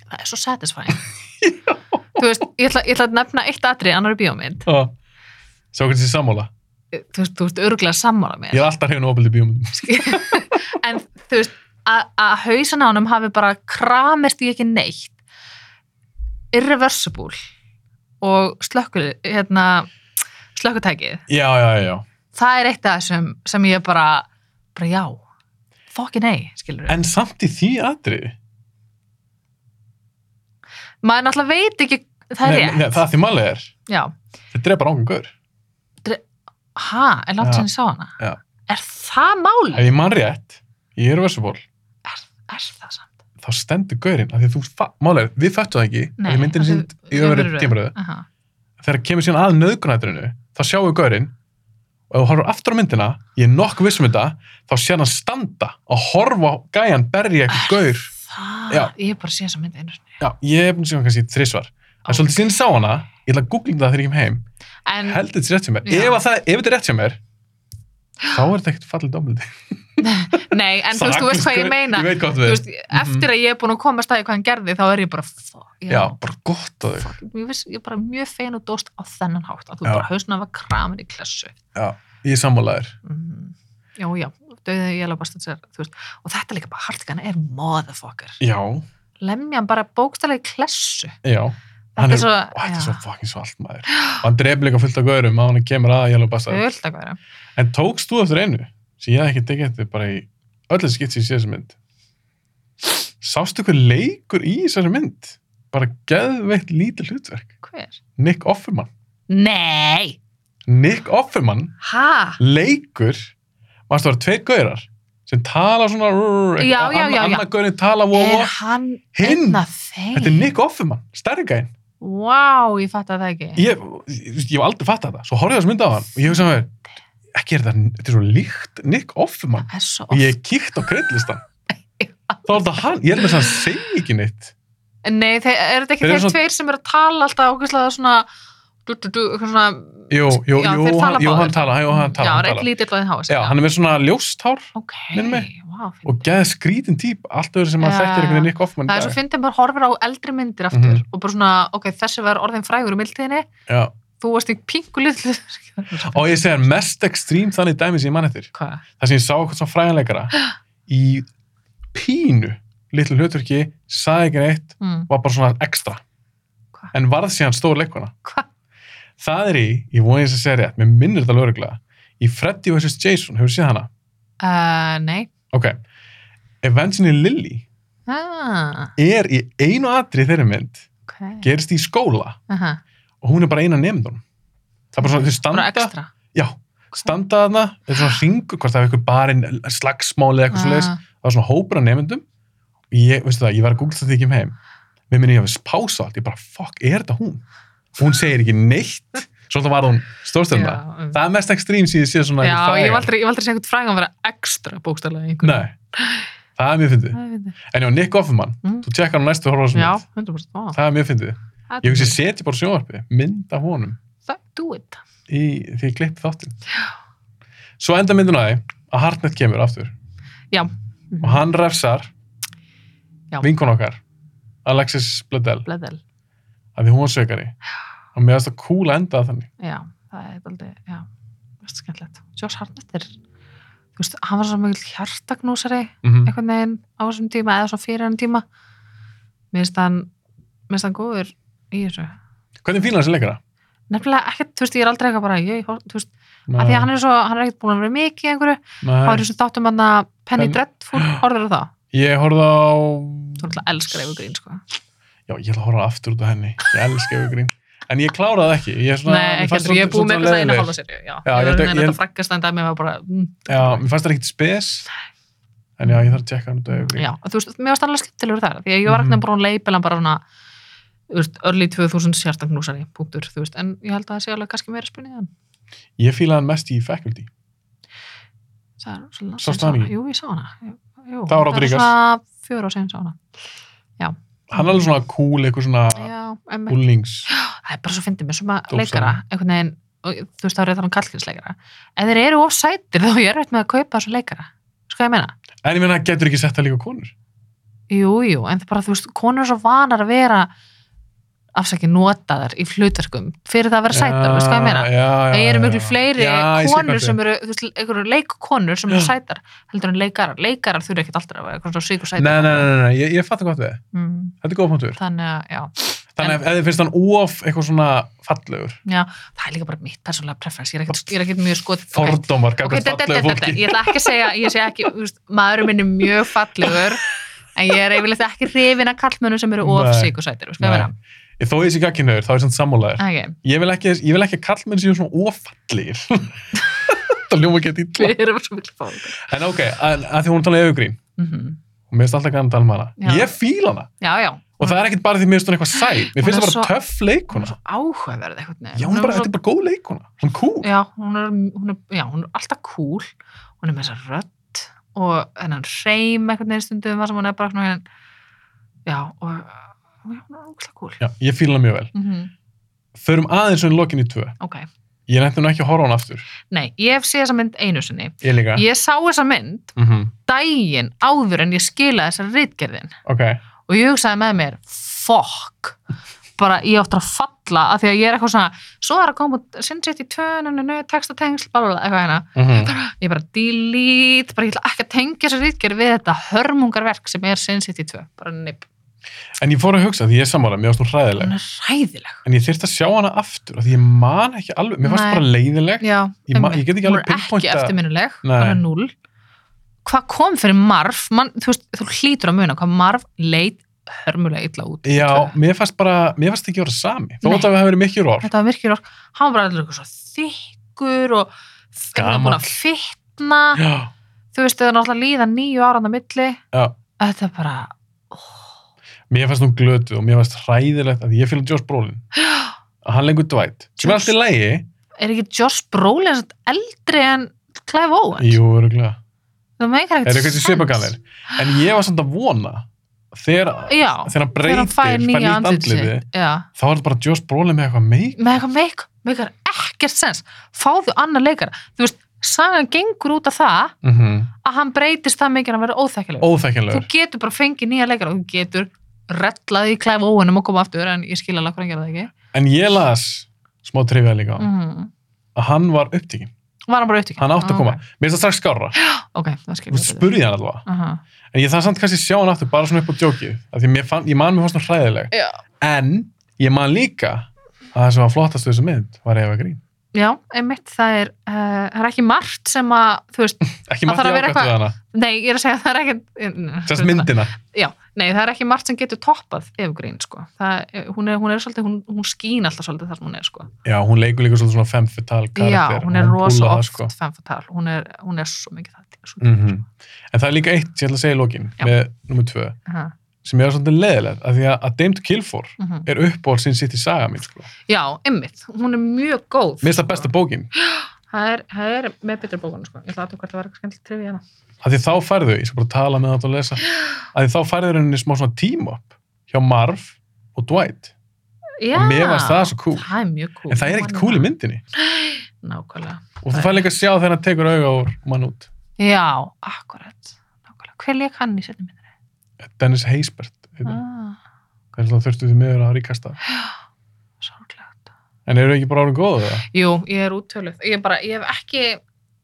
það er svo satisfying þú veist, ég ætla, ég ætla að nefna eitt atri annar bíómynd, Já. Sá hvernig þessi sammála. þú veist, þú veist örgulega sammála mér Ég er alltaf hefðin ofbeldi bíómyndum. en þú veist að að hausan á honum hafi bara kramist í ekki neitt irreversible og slökkul hérna, slökkutækið Já, já, já, já. það er eitt af þessum sem ég bara bara já, fokki nei skilur við, En samt í því atriði. maður náttúrulega veit ekki það er Nei, rétt, nei, það er því málið er. já, Þetta er bara ángur. ha, er langt Já. sem ég sá hana Já. er það mál Ef ég man rétt, ég er versiból, er, er það samt þá stendur gaurinn af því að þú, fa- málið er, við föttum það ekki Nei, af því myndin af er því- sínd í öfri öfru röð. tímaröðu Aha. þegar kemur síðan að nöðgunætturinu þá sjáum við gaurinn og ef þú horfur aftur á myndina, ég er nokkuð viss um þetta þá sé hann standa og horfa á gæjan berja Ah. eitthvað gaur það, Já. ég hef bara sé þessa mynd einu sinni Já, ég er búin að sjá hann kannski þrísvar en svolítið síðan ég sá hana, ég ætla að googla um það þegar ég kem heim en, heldur þetta sé rétt hjá mér, Já. ef, að það, ef þetta er rétt hjá mér þá er þetta ekkert fallið dómliti nei, en þú veist, þú veist hvað ég meina Ég veit Mhm. hvað þú Þú veist veist, eftir að ég er búin að koma að staði hvað hann gerði þá er ég bara fuck, já, Já, bara gott á þau fuck, ég, viss, ég er bara mjög fein og dóst á þennan hátt að þú Já. bara hausna var kramin í klassu Já, ég er sammálaður mm. já, já, döðið ég alveg bara þú veist, og þetta líka bara hartgan er motherfucker, Já, lemja hann bara bókstælega í klassu já Hann er- þetta er svo, og þetta er svo fucking svalt maður og hann dreif líka fullt af gaurum að hann kemur að Yellow Bastard öll að vera en tókst þú eftir einu sem ég hef ekki tekið eftir bara í öll þessi skitt sem ég sé þessi mynd sástu hver leikur í þessari mynd bara geðveitt lítið hlutverk hver? Nick Offerman Nei! Nick Offerman Ha? leikur varstu að vera tveir gaurar sem tala svona rrr, Já, já, já, já. annar gaurin tala vó, Er hérna vó. hann Hinn. einn af þetta er þeim? Nick Offerman, stærri gæinn Vá, ég fatt að það ekki ég, ég, ég hef aldrei fatt þetta svo horfði ég á þessu mynd á hann og ég hugsaði með mér ekki er þetta, þetta er svo líkt Nick Offerman Það er svo og ég kíkt á kreidlistan þá er þetta hann, ég er með þess að hann segi ekki neitt Nei, þeir, er þetta ekki Þeir eru þeir svona- tveir sem eru að tala alltaf okkurslega svona du, du, du, eitthvað svona jú, jú, Já, jú, þeir tala hann, jú, báðir. hann tala, jú, hann Já, tala, hann reynd tala. lítill og þinn háa sig Já, hann er með svona ljósthár Ok, minnir mig. vá, og fyndið. geða skrítin típ allt öðru sem Já. hann þekkir einhvern veginn Nick Offerman Það í er svo dag. fyndið að maður horfir á eldri myndir aftur Mhm. og bara svona, ok, þessi var orðin frægur um yltíðinni, Já. þú varst í pingu litlu og ég segja mest ekstrím þannig dæmi sem ég mann eftir Hvað? þar sem ég sá eitthvað svona fræðanleikara í pínu litlu hlutverki, sagði ekki neitt Mm, var bara svona ekstra Hva? en varð síðan stór leikona Hva? það er í, ég voni þess að segja rétt mér minnir þetta lögreglega, í Freddy vs. Jason hefur séð hana, uh, nei ok Evangeline Lilly ah, er í einu atri þeirri mynd Ok, gerist í skóla aha, og hún er bara eina nefndunum það er bara svona, þau bara standa ekstra já, standa þarna, þetta er svona hringur hvort það er eitthvað barinn slagsmáli eða eitthvað svo leiðis, Ah, það var svona hópur af nefndum og ég, veistu það, ég var að googla þetta ekki um heim við minni ég hafi pása allt, ég bara fuck, er þetta hún? hún segir ekki neitt svolítið var hún stórstönda já, um. það er mest ekstrím sem ég sé svona Já, eitthvað ég frægar. var aldrei, ég var aldrei sem einhvern frægan að vera ekstra bókstælega Nei, það er mjög fyndið en já, Nick Offerman, Mm. þú tekkar hann næstu horfa á þessum Já, mynd, 100% vá, það er mjög fyndið það ég er- hugsi setja bara á sjónvarpi, mynd af honum Það- Do it í, því ég klippi þáttinn svo enda myndin á því að Hartnett kemur aftur Já. og hann refsar Já. vinkun okkar Alexis Bledel Bledel að því hún var sökari og mér finnst það cool að enda það þannig já, það er aldrei, já, veist skemmtilegt. Josh Hartnett er, þú veist, hann var svo mjög hjartagnúsari Mhm. einhvern veginn á þessum tíma eða svo fyrir hann tíma. Mér finnst hann, mér finnst hann góður í þessu. hvernig fílar þessi leikara? Nefnilega ekkert, þú veist, ég er aldrei eitthvað bara, ég, hor- þú veist, af því að hann er svo, hann er ekkert búin að vera mikið í einhverju, þá er Nei, þessu þáttum hann að Penny Penny- Dreadful, horfður það? ég horfði á Þú ætla að elska reyfu grín, sko. já, ég ætla að horfa aftur út á henni ég elska Evergreen en ég kláraði það ekki ég er svona, Nei, mér ekki fannst heldur, ég er svolítið- búin með svolítið eitthvað einu leiðinlegir. hálfa serju, já. Já, Ég ég tek- var einhvern ég- veginn að frakkast en dæmi var bara, mm, já, mér fannst það ekkit spes en já, ég þarf að tjekka hann út á Evergreen Já, og þú veist, mér varst alveg skemmtilegur þar því að ég var ekkert Mhm. bara að leipela hann bara svona þú veist, early 2000 sjartagnúsari punktur, þú veist, en ég held að það sé alveg kannski meira spunnið hann. ég fílaði hann mest í faculty það er svolítið langt Sástu síðan hana sá- ekki? Jú, ég sá hana Jú, jú, Það var er Rodríguez. svona fjóra og sen sá hana hann er alveg svona cool, eitthvað svona Já, emmi úlnings það er bara svo fyndið með svona Dópsala. leikara einhvern veginn, og, þú veist þá er ég að tala um kallkinsleikara ef þeir eru of sætir þá er ég erfitt með að kaupa þessu leikara sko ég meina, en ég meina, getur ekki sett það líka á konur jú, jú, en það bara þú veist, konur er svo vanar að vera afsaki notaðar í flutverkum fyrir það að vera sætar, Já, veist hvað ég meina já, já, já, það eru miklu já. fleiri Já, ég sé hvað konur þið- sem eru, þú veist, einhverju leikkonur sem eru Já. sætar, heldur en leikarar leikarar þurfa ekkert alltaf að vera eitthvað svo Nei, sigur sætar nei, nei, nei, nei, ég, ég fatt gott við þið. Mm, Þetta er góð punktur. þannig að, já, Þannig að ef þið finnst hann of eitthvað svona fallegur, það er líka bara mitt persónlega preference, ég er ekkert, ég er ekkert mjög skot fordómar, Ok, gagvart þetta- okay, fallegu þetta- þetta- fólki. ég ætla ekki að segja, ég segja ekki, úst, maðurinn minn er mjög fallegur en ég er yfirleitt ekki hrifin að kallmönu sem eru of Nei. sigursætir, sko ég Ah. Nei. vera Ég þó ég sé gagkinnöður, þá er samt sammálaður. okay. Ég vil ekki, ég vil ekki að kallmenn séu svona of fallegir. það ljóma ekki að dýtla. við erum svo mikil fólk En ok, að, að því hún talaði öfugrín mm og mér finnst alltaf gaman að tala um hana. Já. Ég fíla hana. já, já, Og það er ekkit bara því mér finnst hún eitthvað sæl. Mér Hún finnst er það bara svo- töff hún er leikuna. svo áhugaverð einhvern veginn. Já, hún er bara, svo- þetta er bara góð leikuna. Hún cool. já, hún er, hún er, já, hún er alltaf cool hún er með þessa rödd og hennan hreim einhvern veginn stundum var sem hún er bara svona hennan, já, og já, hún er ógæslega cool Já, ég fíla hana mjög vel. mm Förum aðeins um lokin í tvö. ok, Ég nefndi nú ekki að horfa á hana aftur. nei, ég hef séð þessa mynd einu sinni Ég líka. ég sá þessa mynd Mhm. daginn áður en ég skilaði þessar rítgerðin Ok. og ég hugsaði með mér, fuck bara ég áttur að falla af því að ég er eitthvað svona, svo er að koma út Sin City 2, nunu, textatengsl bla, bla, bla, eitthvað hérna, Mhm. ég bara delete, bara ég ætla ekki að tengja þessar rítgerð við þetta hörmungarverk sem er Sin City 2 bara neip, En ég fór að hugsa því ég er sammála, mér varst nú hræðileg. hún er ræðileg En ég þyrfti að sjá hana aftur af því ég man ekki alveg, mér varst Nei. bara leiðileg. já, Ég, man, einmitt. ég get ekki hún alveg er ekki pinpointa- eftirminnileg Nei. bara null hvað kom fyrir marf, man, þú veist, þú hlýtur að muna hvað marf leit hörmulega illa út í tvö. Já, mér fannst bara, mér fannst ekki vera sami. Þó Nei. að það hafi verið mikil orð. þetta var virkir ork hann var bara allir eitthvað svo þykkur og Gamall. hann búin að fitna Já, þú veist, það er náttúrulega líða nýju ára á milli já. þetta er bara Mér fannst hún glötuð og mér fannst hræðilegt að ég fylgði Josh Brolin. Að hann lengur dvætt. Sem er Josh- allt í lægi. er ekki Josh Brolin samt eldri en Clive Owen Jú, öruglega. það meikar Er ekkert eitthvað sem sens. svipagallir. En ég var samt að vona þegar, já, þegar hann þegar breytir, hann fær nýja nýtt andlit andliti, sitt já. þá er þetta bara Josh Brolin með eitthvað meik. með eitthvað meik, meikar ekkert sens fáðu annar leikara þú veist, sagan gengur út af það Mm að hann breytist það mikið að hann verður óþekkilegur þú Óþekkilegur. getur bara fengið nýja leikara þú getur rellaði í Clive Owenum og koma aftur en ég skil alveg hvað hann gera það ekki En ég las smá trivia líka á hann, mm. að hann var upptíkin. var hann bara upptökinn Hann átti að koma. Ah. Mér finnst það strax skárra. ok, það skilur Þú spurði hann allavega. En ég þarf samt kannski að sjá hann aftur bara svona upp á djókið. Af því mér fann, ég man mér fannst hann hræðileg. Já. En ég man líka að það sem var flottast við þessu mynd var Eva Grín. já, einmitt, það er, uh, það er ekki margt sem að, þú veist, Ekki Það margt þarf að vera jákvæmt við hana. nei, ég er að segja það er ekki Sérst myndina. já, nei, það er ekki margt sem getur toppað Evergreen, sko, það, hún er, hún er svolítið, hún, hún skín alltaf svolítið þar sem hún er, sko Já, hún leikur líka svolítið svona femme fatale karakter. já, hún er rosa púlar oft það, sko. femme fatale, hún er, hún er svo mikið það svo mikið, Mhm. En það er líka eitt sem ég ætla að segja í lokin Já. með nummer tvö sko. Aha, sem er svolítið leðilegt af því að, að Dame to Kill For mhm. er uppbóð sinn sitt í saga mín sko. já, einmitt, hún er mjög góð Mér finnst það sko. besta bókin það er, það er með betri bókunum, sko, ég ætla að þú hvert að vera eitthvað skemmtilegt trivið hérna að því þá færðu, ég skal bara tala með það og lesa að því þá færðu henni smá svona team up hjá Marv og Dwight já, og mér varst það svo cool það er mjög cool en það er ekkert cool í myndinni nákvæmlega og þú fær líka að sjá þegar hann tekur auga úr mann út Já, akkurat. Nákvæmlega. Hver leik hann í setjum myndinni? Dennis Haysbert ah. Ah, hvernig það þurftu því miður að ríkasta sorglegt. en eru ekki bara orðin góðu það? Jú, ég er úttöluð. Ég, bara, ég hef ekki,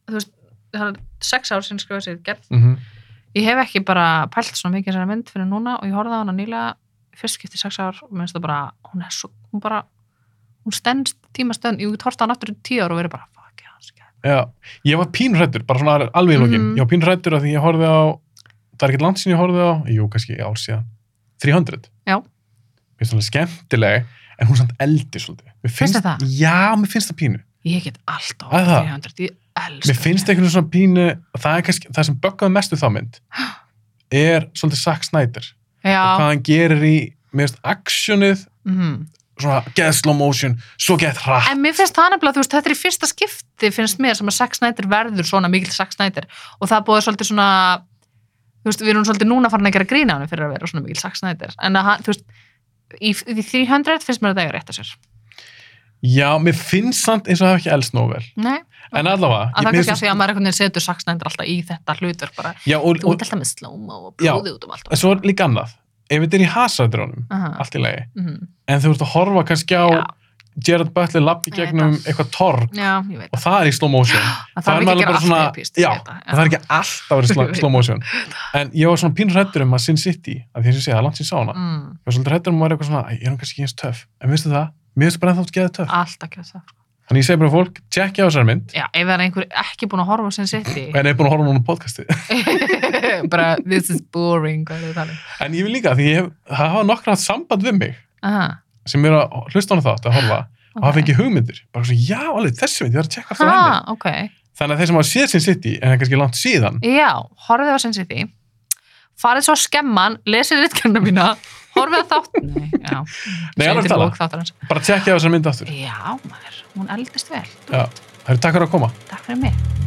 þú veist, það er sex ár sinni skrifa sér gerð. Mm -hmm. Ég hef ekki bara pælt svona mikið sér mynd fyrir núna og ég horfði á hana nýlega fyrst skipti í sex ár og minnst það bara, hún er svo, hún bara, hún stendst tíma stöðn, ég horfði á hana aftur í tíu ár og verið bara, fuck, já, skæð. Já, ég var pínrættur, bara svona alveg í lokin Mhm. ég var pínrættur að því ég horfði á það er ekkert land sem ég horfði á, jú kannski ár síðan 300 Já. Mér finnst það skemmtileg en hún er samt eldi svolítið Mér þér það? Já, mér finnst það pínu Ég get alltaf Að það? 300, ég elska. Mér finnst einhvern veginn svona pínu það, er kannski, það sem böggaði mestu þá mynd er svolítið Zack Snyder Já, og hvað hann gerir í mér finnst aksjónið mhm, svona get slow motion, svo get hratt En mér finnst það nefnilega, þú veist, þetta er í fyrsta skipti finnst mér sem að Zack Snyder verður svona mikill Zack Snyder og það búið svolítið svona þú veist, við erum svolítið núna farin að gera grína hann fyrir að vera svona mikill Zack Snyder en að, hann, þú veist, í, í 300 finnst mér að það er rétt að sér Já, mér finnst samt eins og það hef ekki elst nóg vel Nei, En allavega ég- að mér það kannski að finnst- því að maður einhvern veginn setur Zack Snyder alltaf í þetta hlutverk bara, Já, og, þú og, ert alltaf með slóma og Já. blóði út um allt en svo er líka annað Ef þetta er í hasardrónum, Aha, allt í lagi mhm. En þú ert að horfa kannski á Já, Gerard Butler lappi Ég veit gegnum það. eitthvað torg já, ég veit og það er í slow motion það er þarf ekki maður að gera bara allt svona- epist, ég já, veit það, það er ekki alltaf að vera í Ég slow- veit slow motion en ég var svona pín hrættur um að Sin City af því að ég sé að langt sér sá hana mm, ég var svolítið hrættur um að vera eitthvað svona, "Æ, er hún kannski ekki eins töff en veistu það, mér finnst bara ennþátt geða töff alltaf ekki að það þannig ég segi bara fólk, tjekkja á þessar mynd Já, ef það er einhver ekki búin að horfa sem sitt en ég er búin að horfa núna á podcasti bara this is boring hvað er það talið en ég vil líka, því ég hef, það hafa nokkra haft samband við mig Aha, sem eru að hlusta á hana þátt að horfa og hafa fengið hugmyndir, bara svona, já, alveg þessi mynd ég var að tjekka aftur á henni, ah, ok, þannig að þeir sem hafa séð Sin City en það er kannski langt síðan já, horfið á sem sitt farið svo á skemman lesið ritkenna mína, horfið á þátt nei, já, Nei, alveg Sveitin tala. bók þáttarins. bara tjekkja á þessar mynd aftur já, maður, hún eldist vel Já. það eru takk fyrir að koma takk fyrir mig